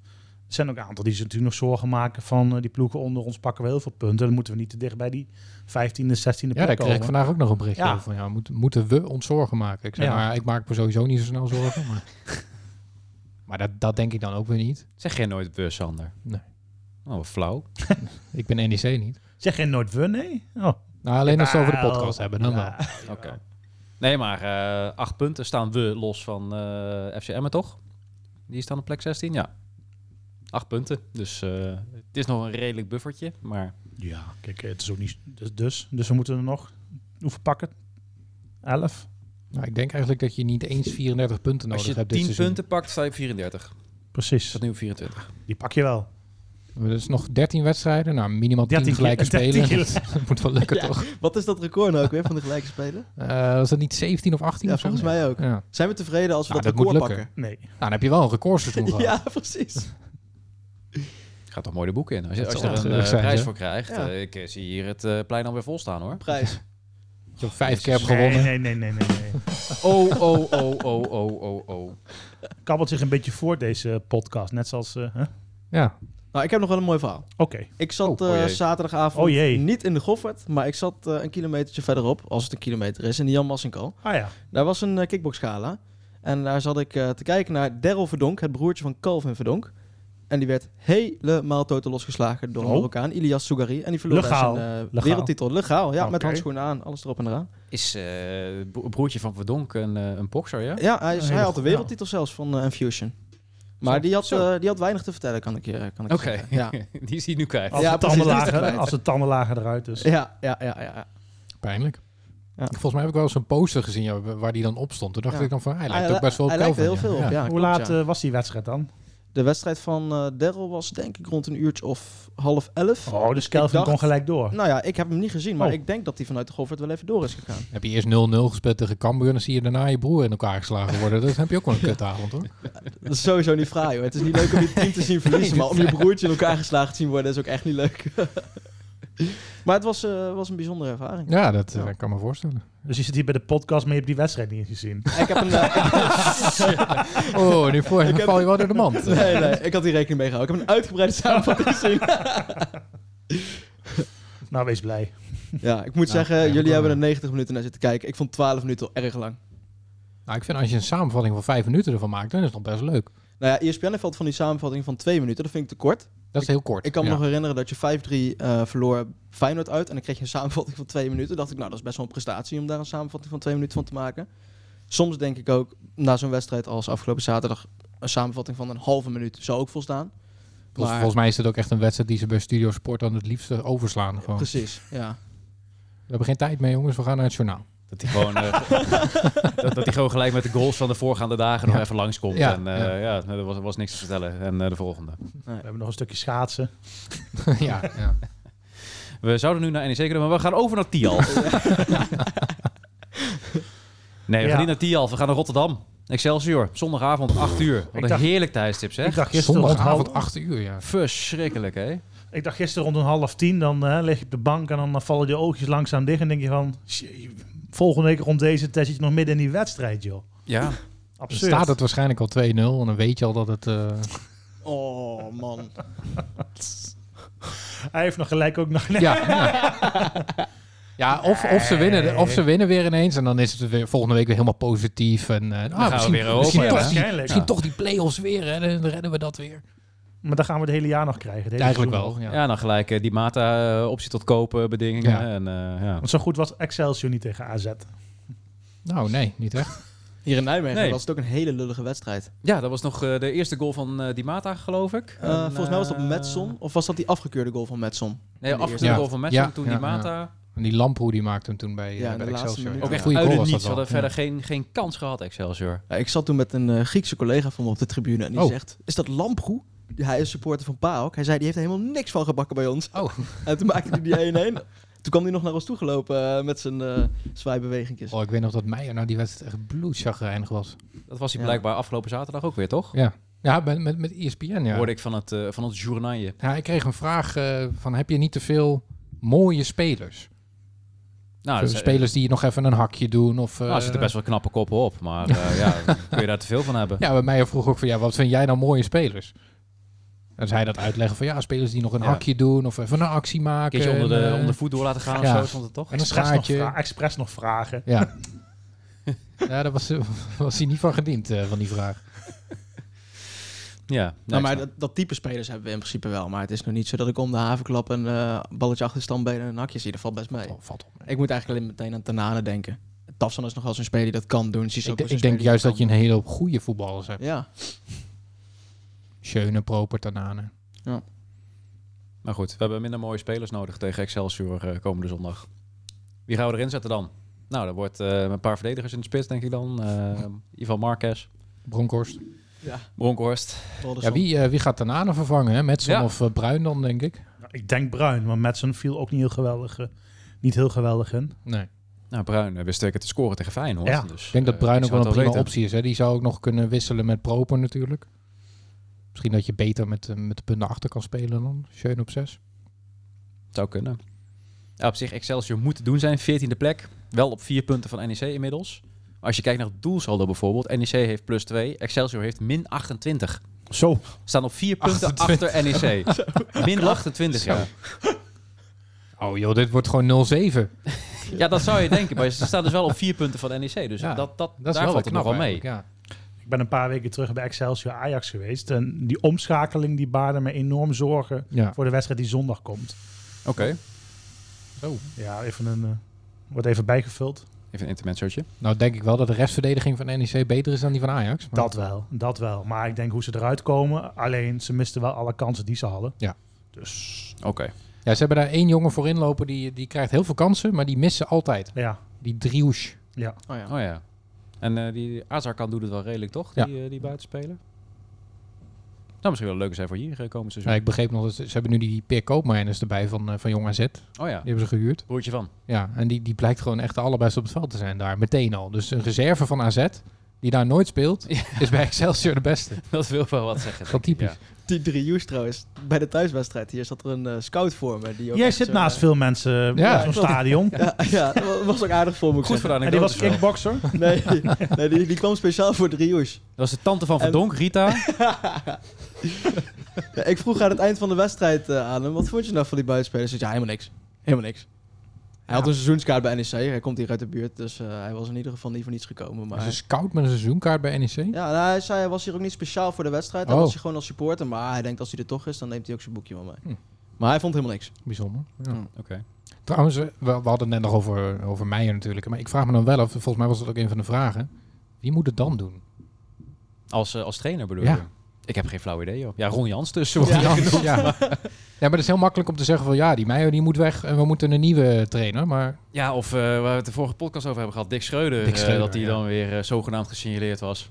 zijn ook een aantal die zich natuurlijk nog zorgen maken van eh, die ploegen onder ons pakken we heel veel punten. Dan moeten we niet te dicht bij die 15e, 16e Ja, daar plek kreeg ik komen. vandaag ook nog een berichtje Ja. over. Van, ja, moet, moeten we ons zorgen maken? Ik zei, Ja. maar ik maak me sowieso niet zo snel zorgen. Maar, maar dat, dat denk ik dan ook weer niet. Zeg jij nooit we, Sander? Nee. Oh, wat flauw. Ik ben NEC niet. Zeg je nooit we, nee? Oh, Nou, alleen als we het over de Wel, podcast hebben, dan ja. wel. Oké. Nee, maar eh, acht punten staan we los van eh FC Emmen, toch? Die staan op plek 16, ja. Acht punten. Dus eh, het is nog een redelijk buffertje. Maar Ja, kijk, het is ook niet... Dus, dus, dus we moeten er nog... Hoeveel pakken? 11? Nou, ik denk eigenlijk dat je niet eens 34 punten nodig als je 10 hebt dit seizoen. punten pakt, sta je op 34. Precies. Staat nu op 24. Die pak je wel. Dus nog 13 wedstrijden. Nou, minimaal 10 13 gelijke keer- 13 spelen. keer. dat moet wel lukken, toch? Wat is dat record nou ook weer van de gelijke spelen? Eh, was dat niet 17 of 18 Ja, of zo? volgens mij ook. Ja. Nou, Zijn we tevreden als we dat, dat, moet record lukken. Nee. Nou, dan heb je wel een recordseizoen pakken? gehad. Ja, precies. Gaat toch mooi de boek in. Als je, Dat als je zal er een natuurlijk eh, zijn, prijs hè? voor krijgt. Ja. eh, ik eh, zie hier het eh, plein alweer vol staan, hoor. Prijs. Je hebt vijf keer hebt Nee, gewonnen. nee, nee, nee, nee. nee. Oh, oh, oh, oh, oh, oh, oh. Kabbelt zich een beetje voor deze podcast. Net zoals... eh, hè? Oké. Ja. Nou, ik heb nog wel een mooi verhaal. Ik zat Oh, oh eh, jee. zaterdagavond Oh jee. niet in de Goffert, maar ik zat eh, een kilometertje verderop, als het een kilometer is, in de Jan Massenkal. Ah ja. Daar was een eh, kickboxgala. En daar zat ik eh, te kijken naar Daryl Verdonk, het broertje van Calvin Verdonk. En die werd helemaal totaal losgeslagen door een Oh. Marokkaan, Ilias Sougari. En die verloor daar Legaal. zijn eh, Legaal. wereldtitel. Legaal, ja, met Oké. handschoenen aan, alles erop en eraan. Is eh, bro- broertje van Verdonk een, eh, een bokser, ja? Ja, hij, Een hij hele had de goe- wereldtitel zelfs van eh, Infusion. Maar die had, zo. eh, die had weinig te vertellen, kan ik je, kan ik je Oké, zeggen. Ja. die is hij nu kwijt. Als, Ja, de precies, tanden die is er lager, kwijt. als de tanden lager eruit dus. is. Ja, ja, ja, ja. Pijnlijk. Ja. Volgens mij heb ik wel eens een poster gezien ja, wa- waar die dan op stond. Toen dacht Ja. ik dan van, hij lijkt li- ook best wel op hij lijkt er heel Calvin, veel ja. op, ja. Ja. Hoe klopt, laat ja. eh, was die wedstrijd dan? De wedstrijd van eh Daryl was denk ik rond een uurtje of half elf. Oh, dus Kelvin dacht- kon gelijk door. Nou ja, ik heb hem niet gezien, maar Oh. ik denk dat hij vanuit de Goffert wel even door is gegaan. Heb je eerst 0-0 gespeeld tegen Cambuur en dan zie je daarna je broer in elkaar geslagen worden. Dat heb je ook wel een kutavond hoor. Dat is sowieso niet fraai hoor. Het is niet leuk om je team te zien verliezen, maar om je broertje in elkaar geslagen te zien worden is ook echt niet leuk. maar het was, eh, was een bijzondere ervaring. Ja, dat Ja. eh, kan me voorstellen. Dus je zit hier bij de podcast, maar je hebt die wedstrijd niet gezien. Ik heb een... eh, Oh, nu voor, Ik dan heb- val je wel door de mand. nee, nee, ik had die rekening mee gehouden. Ik heb een uitgebreide samenvatting gezien. Nou, wees blij. ja, ik moet Nou, zeggen, ja, ook jullie wel, hebben ja. er 90 minuten naar zitten kijken. Ik vond 12 minuten al erg lang. Nou, ik vind als je een samenvatting van vijf minuten ervan maakt, dan is het nog best leuk. Nou ja, ESPN heeft altijd van die samenvatting van 2 minuten. Dat vind ik te kort. Dat is heel kort. Ik kan me Ja. nog herinneren dat je 5-3 eh, verloor Feyenoord uit. En dan kreeg je een samenvatting van twee minuten. dacht ik, nou, dat is best wel een prestatie om daar een samenvatting van twee minuten van te maken. Soms denk ik ook, na zo'n wedstrijd als afgelopen zaterdag, een samenvatting van een halve minuut zou ook volstaan. Vol- Maar- Volgens mij is het ook echt een wedstrijd die ze bij Studio Sport dan het liefste overslaan. Gewoon. Precies, ja. We hebben geen tijd meer, jongens. We gaan naar het journaal. Dat hij gewoon, eh, dat, dat hij gewoon gelijk met de goals van de voorgaande dagen nog Ja. even langskomt. Ja, En eh, ja. ja, er was, er was niks te vertellen. En eh, de volgende. We hebben nog een stukje schaatsen. ja, ja. We zouden nu naar NEC kunnen, maar we gaan over naar Tial. nee, we Ja. gaan niet naar Tial. We gaan naar Rotterdam. Excelsior, zondagavond 8 uur. Wat Ik een dacht- heerlijk tijdstip zeg. Ik dacht, gisteren rond Zondagavond half, 8 uur, ja. Verschrikkelijk hè. ik dacht gisteren rond een half tien, dan eh, lig je op de bank en dan eh, vallen je oogjes langzaam dicht. En denk je van, "Jee, volgende week rond deze tijd zit je nog midden in die wedstrijd, joh. Ja, Dan Absurd. staat het waarschijnlijk al 2-0 en dan weet je al dat het... eh, Oh man. Hij heeft nog gelijk ook nog... ja, ja. Ja, of, of, ze winnen, of ze winnen weer ineens en dan is het weer, volgende week weer helemaal positief. En, eh, ah, gaan we misschien, weer Europa, misschien, ja. toch, die, waarschijnlijk. misschien toch die play-offs weer hè, dan redden we dat weer. Maar dan gaan we het hele jaar nog krijgen. het hele Eigenlijk seizoen wel, ja. ja dan gelijk eh, die Mata eh, optie tot kopen bedingingen. Ja. En, eh, ja. Want zo goed was Excelsior niet tegen AZ. Nou, nee, niet echt. Hier in Nijmegen Nee. was het ook een hele lullige wedstrijd. ja, dat was nog eh, de eerste goal van eh, die Mata geloof ik. Eh, En, volgens mij was dat eh, Metson, of was dat die afgekeurde goal van Metson? Nee, de achter eerste. de Ja. goal van Metson, Ja, toen ja, die ja. Mata. En die Lamproe die maakte hem toen bij, eh, Ja, in bij de laatste Excelsior. minuut. Ook Ja. echt Goeie uit het was niets. Ze dat hadden wel. verder geen, geen kans gehad, Excelsior. Ja, ik zat toen met een eh, Griekse collega van me op de tribune en die Oh. zegt, is dat Lamproe? Hij is supporter van PAOK. Hij zei, die heeft er helemaal niks van gebakken bij ons. Oh. En toen maakte hij die 1-1. Toen kwam hij nog naar ons toe gelopen eh, met zijn eh zwaaibewegingjes. Oh, ik weet nog dat Meijer nou die wedstrijd echt bloedchagrijnig was. Dat was hij Ja. blijkbaar afgelopen zaterdag ook weer, toch? Ja, ja met, met, E met ESPN, ja. Hoorde ik van het, eh van het journaille. Ja, ik kreeg een vraag eh, van heb je niet te veel mooie spelers? Nou, Zo, dat- spelers die nog even een hakje doen of... eh, nou, er zitten best wel knappe koppen op. Maar eh, ja, kun je daar te veel van hebben? Ja, bij mij vroeg ook van ja, wat vind jij nou mooie spelers? En zij dat uitleggen van ja, spelers die nog een Ja. hakje doen of even een actie Een maken. keertje onder en, de, eh, onder de voet door laten gaan ja. of zo, stond het toch? en een Express nog, schaartje. vra- expres nog vragen. Ja. ja, daar was, was hij niet van gediend eh, van die vraag. Ja, nou, nee, maar ik snap. dat, dat type spelers hebben we in principe wel. Maar het is nog niet zo dat ik om de havenklap een eh, balletje achter de standbenen en een hakje zie. Dat valt best mee. Oh, valt op. Ik moet eigenlijk alleen meteen aan Tanane denken. Tafsan is nog wel zo'n speler die dat kan doen. Sissoko Ik, is de- een ik denk speler juist die dat je een hele hoop goede voetballers hebt. kan. Ja, Schöne, Proper, Tanane. maar goed, we hebben minder mooie spelers nodig tegen Excelsior eh, komende zondag. Wie gaan we erin zetten dan? Nou, er wordt eh, een paar verdedigers in de spits, denk ik dan. Eh, Ivan Marquez, Bronkhorst. Bronkhorst. Ja, wie, eh, wie gaat Tanane vervangen? Hè? Metson Ja. of eh, Bruin dan, denk ik? Nou, Ik denk Bruin, want Madsen viel ook niet heel geweldig, eh, niet heel geweldig in. Nee. Nou, Bruin eh, wist sterker te scoren tegen Feyenoord. Ja. Dus, Ik denk dat eh, Bruin ook zou wel een het prima weten. optie is. Hè? Die zou ook nog kunnen wisselen met Proper natuurlijk. Misschien dat je beter met, eh, met de punten achter kan spelen dan. Schön op 6. Zou kunnen. Ja, op zich, Excelsior moet te doen zijn. 14e plek. Wel op vier punten van NEC inmiddels. Maar als je kijkt naar het doelsaldo bijvoorbeeld. NEC heeft plus 2. Excelsior heeft min 28. Zo. Staan op vier punten 28. achter NEC. min 28, ja. Oh joh, dit wordt gewoon 0-7. Ja, dat zou je denken. Maar ze staan dus wel op vier punten van NEC. Dus Ja, dat, dat, Dat daar is wel valt weer het nog knap wel mee. eigenlijk, Ja. Ik ben een paar weken terug bij Excelsior Ajax geweest. En die omschakeling die baarde me enorm zorgen Ja. voor de wedstrijd die zondag komt. Oké. Zo. Ja, even een... eh, wordt even bijgevuld. Even een intermezzootje. Nou denk ik wel dat de restverdediging van NEC beter is dan die van Ajax. maar- Dat wel, dat wel. Maar ik denk hoe ze eruit komen. Alleen, ze misten wel alle kansen die ze hadden. Ja. Dus, Oké. Ja, ze hebben daar één jongen voor inlopen. Die, die krijgt heel veel kansen, maar die missen altijd. ja. Die Driouche. Ja. Oh ja. Oh ja. En eh, die Azarkan doet het wel redelijk, toch? Die, eh, die buitenspeler. Nou, misschien wel leuk zijn voor hier eh, komend Ja, seizoen. Nou, ik begreep nog dat ze, ze hebben nu die Peer Koopmeiners erbij van, eh, van Jong AZ. Die Oh ja. hebben ze gehuurd. Broertje van. Ja, en die, die blijkt gewoon echt de allerbeste op het veld te zijn daar. Meteen al. Dus een reserve van AZ, die daar nooit speelt, is bij Excelsior de beste. Dat wil wel wat zeggen. Dat denk ik, typisch. Die drie Joes trouwens, bij de thuiswedstrijd hier zat er een eh, scout voor me. Die ook Jij echt eh, zit zo- naast veel mensen Ja, bij zo'n klopt. stadion. Ja, ja, dat wa- was ook aardig voor me. ja. ik Goed zeggen. voor de En die was anekdotes wel. kickboxer. Nee, nee die, die kwam speciaal voor drie Joes. Dat was de tante van En- Verdonk, Rita. Ja, ik vroeg aan het eind van de wedstrijd eh, aan hem, wat vond je nou van die buitenspelers? Hij zei, ja, helemaal niks. Helemaal niks. Hij had een seizoenskaart bij NEC, hij komt hier uit de buurt, dus eh, hij was in ieder geval niet voor niets gekomen. Maar... Dus Is een scout met een seizoenkaart bij E NEC? Ja, nou, hij zei hij was hier ook niet speciaal voor de wedstrijd. Hij Oh. was hier gewoon als supporter. Maar hij denkt als hij er toch is, dan neemt hij ook zijn boekje wel mee. Hm. Maar hij vond helemaal niks. Bijzonder. Ja. Hmm. Oké. Trouwens, eh, we, we hadden het net nog over, over Meijer natuurlijk. Maar ik vraag me dan wel af, volgens mij was dat ook een van de vragen. Wie moet het dan doen? Als, eh, als trainer bedoel Ja. je? Ik heb geen flauw idee, joh. Ja, Ron Jans dus. wordt Ja, hij ja. genoemd. ja, maar dat is heel makkelijk om te zeggen van ja, die Meijer die moet weg en we moeten een nieuwe trainer. Maar Ja, of eh, waar we het de vorige podcast over hebben gehad, Dick Schreuder. Dick eh, Schreuder, dat hij ja. dan weer eh, zogenaamd gesignaleerd was.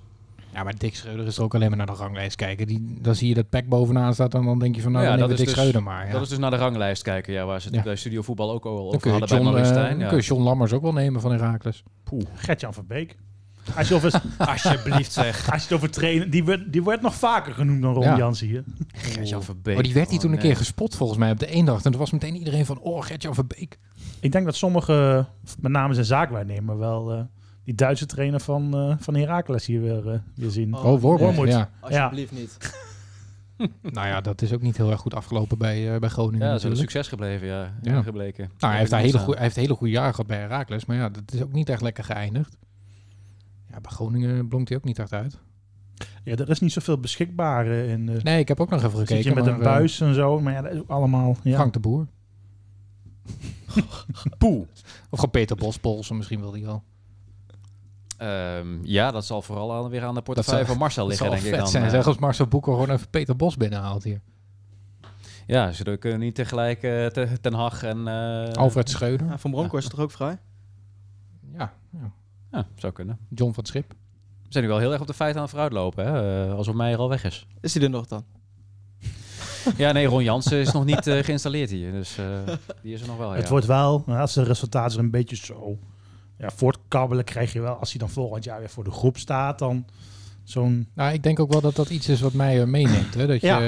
Ja, maar Dick Schreuder is er ook alleen maar naar de ranglijst kijken. Die, dan zie je dat Peck bovenaan staat en dan denk je van nou, Ja, dan dat hebben we is Dick dus- Schreuder maar. Ja. Dat is dus naar de ranglijst kijken, ja, waar ze het Ja. bij Studio Voetbal ook al dan over kun je, hadden bij John, eh, Marlestein. dan ja. kun je John Lammers ook wel nemen van Herakles. Gert-Jan van Beek. Als je, over, Alsjeblieft zeg. als je het over trainen... Die werd, die werd nog vaker genoemd dan Ron Ja. Jans hier. Gert-Jan Verbeek. Maar die werd hij Oh, toen een nee. keer gespot volgens mij op de eendracht. En toen was meteen iedereen van oh, Gert-Jan Verbeek. Ik denk dat sommige, met name zijn zaakwaarnemer, wel eh, die Duitse trainer van, eh van Heracles hier weer, eh, weer zien. Oh, Oh, Wormoed. Wormoed. Ja. Alsjeblieft niet. Nou ja, dat is ook niet heel erg goed afgelopen bij, eh, bij Groningen Ja, dat is wel een natuurlijk. succes gebleven, ja. Ja. Gebleken. Dus, Nou, hij heeft, daar hele Staan. goeie, hij heeft hele goede jaren gehad bij Herakles, maar ja, dat is ook niet echt lekker geëindigd. Ja, bij Groningen blonkt hij ook niet echt uit. Ja, er is niet zoveel beschikbaar eh, in... eh, Nee, ik heb ook nog even gekeken. Zit je met maar, een eh, buis en zo, maar ja, dat is ook allemaal... Ja. Frank de Boer. Poel. Of gewoon Peter Bospolsen, misschien wil hij wel. Ehm, ja, dat zal vooral aan, weer aan de Dat portefeuille zou- van Marcel Dat liggen, zou denk vet ik dan. zijn, Eh, zeg, als Marcel Boeker gewoon even Peter Bos binnenhaalt hier. Ja, ze kunnen niet tegelijk eh, te- Ten Hag en... eh, Alfred Schreuder. Ja, van Bronckhorst is toch ook vrij? Ja, ja. Ja, zou kunnen. John van het Schip. We zijn nu wel heel erg op de feiten aan het vooruitlopen, hè? eh, alsof Meijer al weg is. Is hij er nog dan? Ja, nee, Ron Jansen is nog niet eh, geïnstalleerd hier. Dus eh, die is er nog wel. Het ja. wordt wel, nou, als de resultaten er een beetje zo ja, voortkabbelen, krijg je wel, als hij dan volgend jaar weer voor de groep staat, dan zo'n... Nou, ik denk ook wel dat dat iets is wat mij eh, meeneemt. Hè? Dat je, Ja.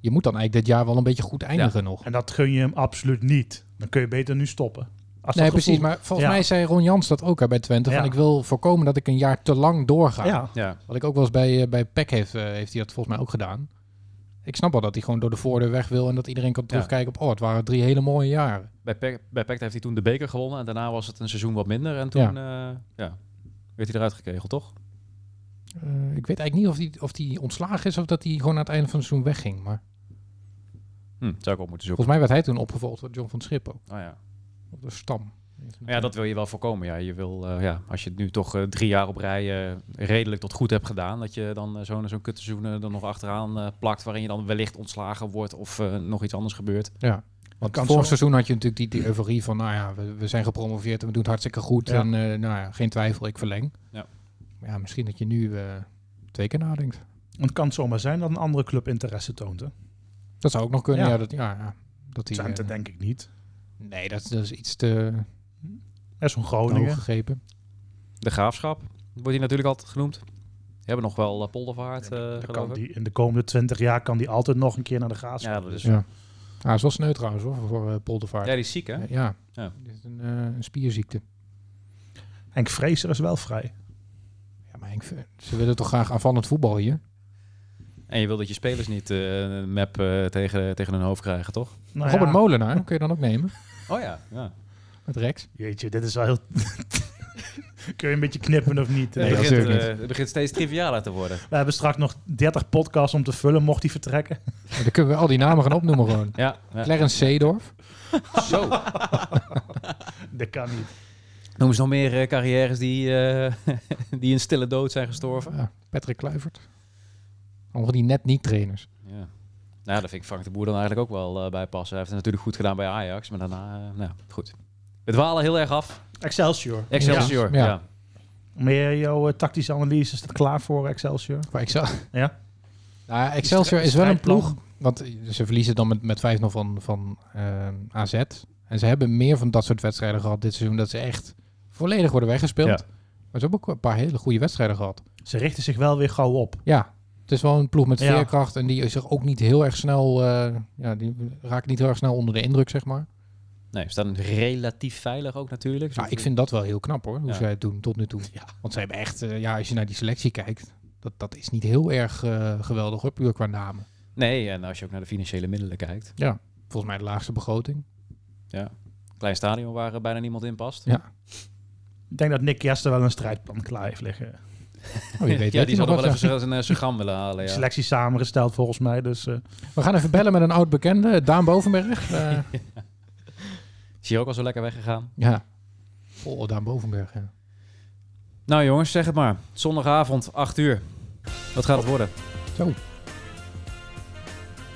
je moet dan eigenlijk dit jaar wel een beetje goed eindigen nog. En dat gun je hem absoluut niet. Dan kun je beter nu stoppen. Als Nee, dat precies. gevoel- Maar volgens Ja. mij zei Ron Jans dat ook hè, bij Twente. Ja. Van, ik wil voorkomen dat ik een jaar te lang doorga. Ja, Ja. Wat ik ook wel eens bij, eh, bij PEC heeft, eh, heeft hij dat volgens mij ook gedaan. Ik snap wel dat hij gewoon door de voordeur weg wil en dat iedereen kan terugkijken op, oh, het waren drie hele mooie jaren. Bij, Pek, bij Pekt heeft hij toen de beker gewonnen. En daarna was het een seizoen wat minder. En toen eh, ja, werd hij eruit gekegeld, toch? Eh, ik weet eigenlijk niet of die, of die ontslagen is of dat hij gewoon aan het einde van het seizoen wegging. Maar Hm, zou ik op moeten zoeken. volgens mij werd hij toen opgevolgd door John van het Schip ook. Oh, ja. Of door Stam. Maar ja, dat wil je wel voorkomen. Ja. Je wil, eh, ja, als je het nu toch eh, drie jaar op rij eh, redelijk tot goed hebt gedaan. Dat je dan eh, zo'n zo'n kutseizoen er nog achteraan eh, plakt. Waarin je dan wellicht ontslagen wordt of eh, nog iets anders gebeurt. Ja. Want kan vorig zo- seizoen had je natuurlijk die, die euforie van, nou ja, we, we zijn gepromoveerd en we doen het hartstikke goed. Ja. En eh, nou ja, geen twijfel, ik verleng. Ja. Maar ja, misschien dat je nu eh, twee keer nadenkt. want het kan zomaar zijn dat een andere club interesse toont. Hè? Dat zou ook nog kunnen. Ja, Ja. dat, ja, ja, dat die, Twente eh, denk ik niet. nee, dat, dat is iets te Er is een hoog Groningen. gegrepen. De graafschap wordt hier natuurlijk altijd genoemd. Die hebben nog wel eh, poldervaart. eh, Dan geloof kan ik. die, in de komende twintig jaar kan die altijd nog een keer naar de graafschap. Ja, dat is, Ja. Ah, is wel sneu trouwens hoor, voor eh, Poldervaart. ja, die is ziek, hè? Eh, ja. Ja. Dit is een, eh, een spierziekte. Henk Vrezer is wel vrij. Ja, maar Henk, Ve- ze willen toch graag aanvallend voetbal hier? En je wil dat je spelers niet eh, een map eh, tegen, tegen hun hoofd krijgen, toch? Nou Robert ja, Molenaar kun je dan ook nemen, Oh ja. ja. met Rex. Jeetje, dit is wel heel... Kun je een beetje knippen of niet? Nee, het, dat begint, natuurlijk eh, het begint steeds trivialer te worden. We hebben straks nog 30 podcasts om te vullen, mocht hij vertrekken. Maar dan kunnen we al die namen gaan opnoemen gewoon. Ja, ja. Clarence Seedorf. zo. Dat kan niet. Noem eens nog meer eh, carrières die, eh, die in stille dood zijn gestorven. Ja, Patrick Kluivert. Allemaal die net niet trainers. Ja. Nou, daar vind ik Frank de Boer dan eigenlijk ook wel eh, bij passen. Hij heeft het natuurlijk goed gedaan bij Ajax, maar daarna... eh, nou, goed. We dwalen heel erg af. Excelsior. Excelsior. Ja. Ja. Meer jouw eh, tactische analyse, is dat klaar voor Excelsior? Voor Excel. Ja. Nou, Excelsior is wel een strijdplan. ploeg. Want eh, ze verliezen dan met, met 5-0 van, van eh, AZ. En ze hebben meer van dat soort wedstrijden gehad dit seizoen. Dat ze echt volledig worden weggespeeld. Ja. Maar ze hebben ook een paar hele goede wedstrijden gehad. Ze richten zich wel weer gauw op. Ja, het is wel een ploeg met Ja. veerkracht. En die zich ook niet heel erg snel... eh, ja, die raakt niet heel erg snel onder de indruk, zeg maar. Nee, we staan relatief veilig ook natuurlijk. Nou, ik vind dat wel heel knap hoor, hoe Ja. zij het doen tot nu toe. Want ze hebben echt, eh, ja, als je naar die selectie kijkt, dat, dat is niet heel erg eh, geweldig hoor, puur qua namen. Nee, en als je ook naar de financiële middelen kijkt. Volgens mij de laagste begroting. Oh, Klein stadion waar eh, bijna niemand in past. Ja. Ik denk dat Nick Jester wel een strijdplan klaar heeft liggen. Oh, je weet ja, het, die zal nog iemand wel even was, ja. zijn- zijn eh, zijn gram willen halen. Ja. Selectie samengesteld volgens mij, dus eh, We gaan even bellen met een oud bekende, Daan Bovenberg. Eh, Is hier ook al zo lekker weggegaan? ja. Oh, Daan Bovenberg, ja. Nou jongens, zeg het maar. Zondagavond, 8 uur. Wat gaat het worden?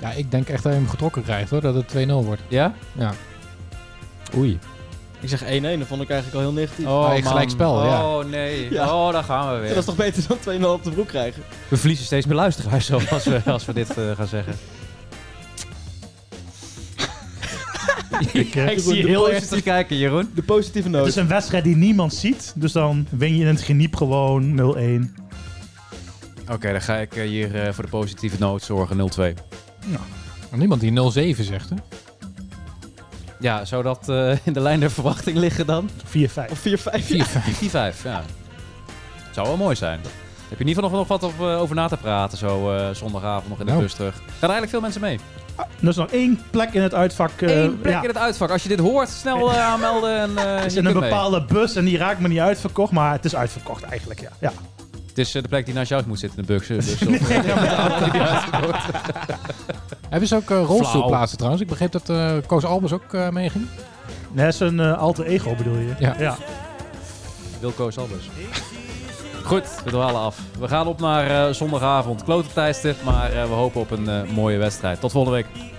Ja, ik denk echt dat je hem getrokken krijgt hoor, dat het 2-0 wordt. Ja? Ja. Oei. Ik zeg 1-1, dat vond ik eigenlijk al heel negatief. Oh, Ah, gelijkspel, man. ja. Oh nee. Ja. Oh, daar gaan we Ja, weer. dat is toch beter dan 2-0 op de broek krijgen? We verliezen steeds meer luisteraars zo, als we, als we dit eh, gaan zeggen. eh, Ik zie je heel ernstig kijken, Jeroen. De positieve Het noot. is een wedstrijd die niemand ziet, dus dan win je in het geniep gewoon 0-1. Oké, dan ga ik eh, hier eh, voor de positieve noot zorgen, 0-2. Maar niemand die 0-7 zegt hè. Ja, zou dat eh, in de lijn der verwachting liggen dan? 4-5. Of 4-5. 4-5, ja. Zou wel mooi zijn. Heb je in ieder geval nog, nog wat op, eh, over na te praten zo eh, zondagavond nog in de Nou. bus terug? Gaan er eigenlijk veel mensen mee? Dus nog één plek in het uitvak. eh, Eén plek ja. in het uitvak. Als je dit hoort, snel eh, aanmelden en eh, Het is je in een kunt mee. bepaalde bus en die raakt me niet uitverkocht, maar het is uitverkocht eigenlijk, ja. ja. Het is eh, de plek die naast jou moet zitten in de bus. eh, bus of- Hebben ze ook eh, rolstoelplaatsen trouwens? Ik begreep dat eh, Koos Albers ook eh meeging. Nee, dat is een eh, alter ego bedoel je? Ja. ja. Wilco Albers. Goed, we dwalen af. We gaan op naar eh, zondagavond. Klote tijdstip, maar eh, we hopen op een eh, mooie wedstrijd. Tot volgende week.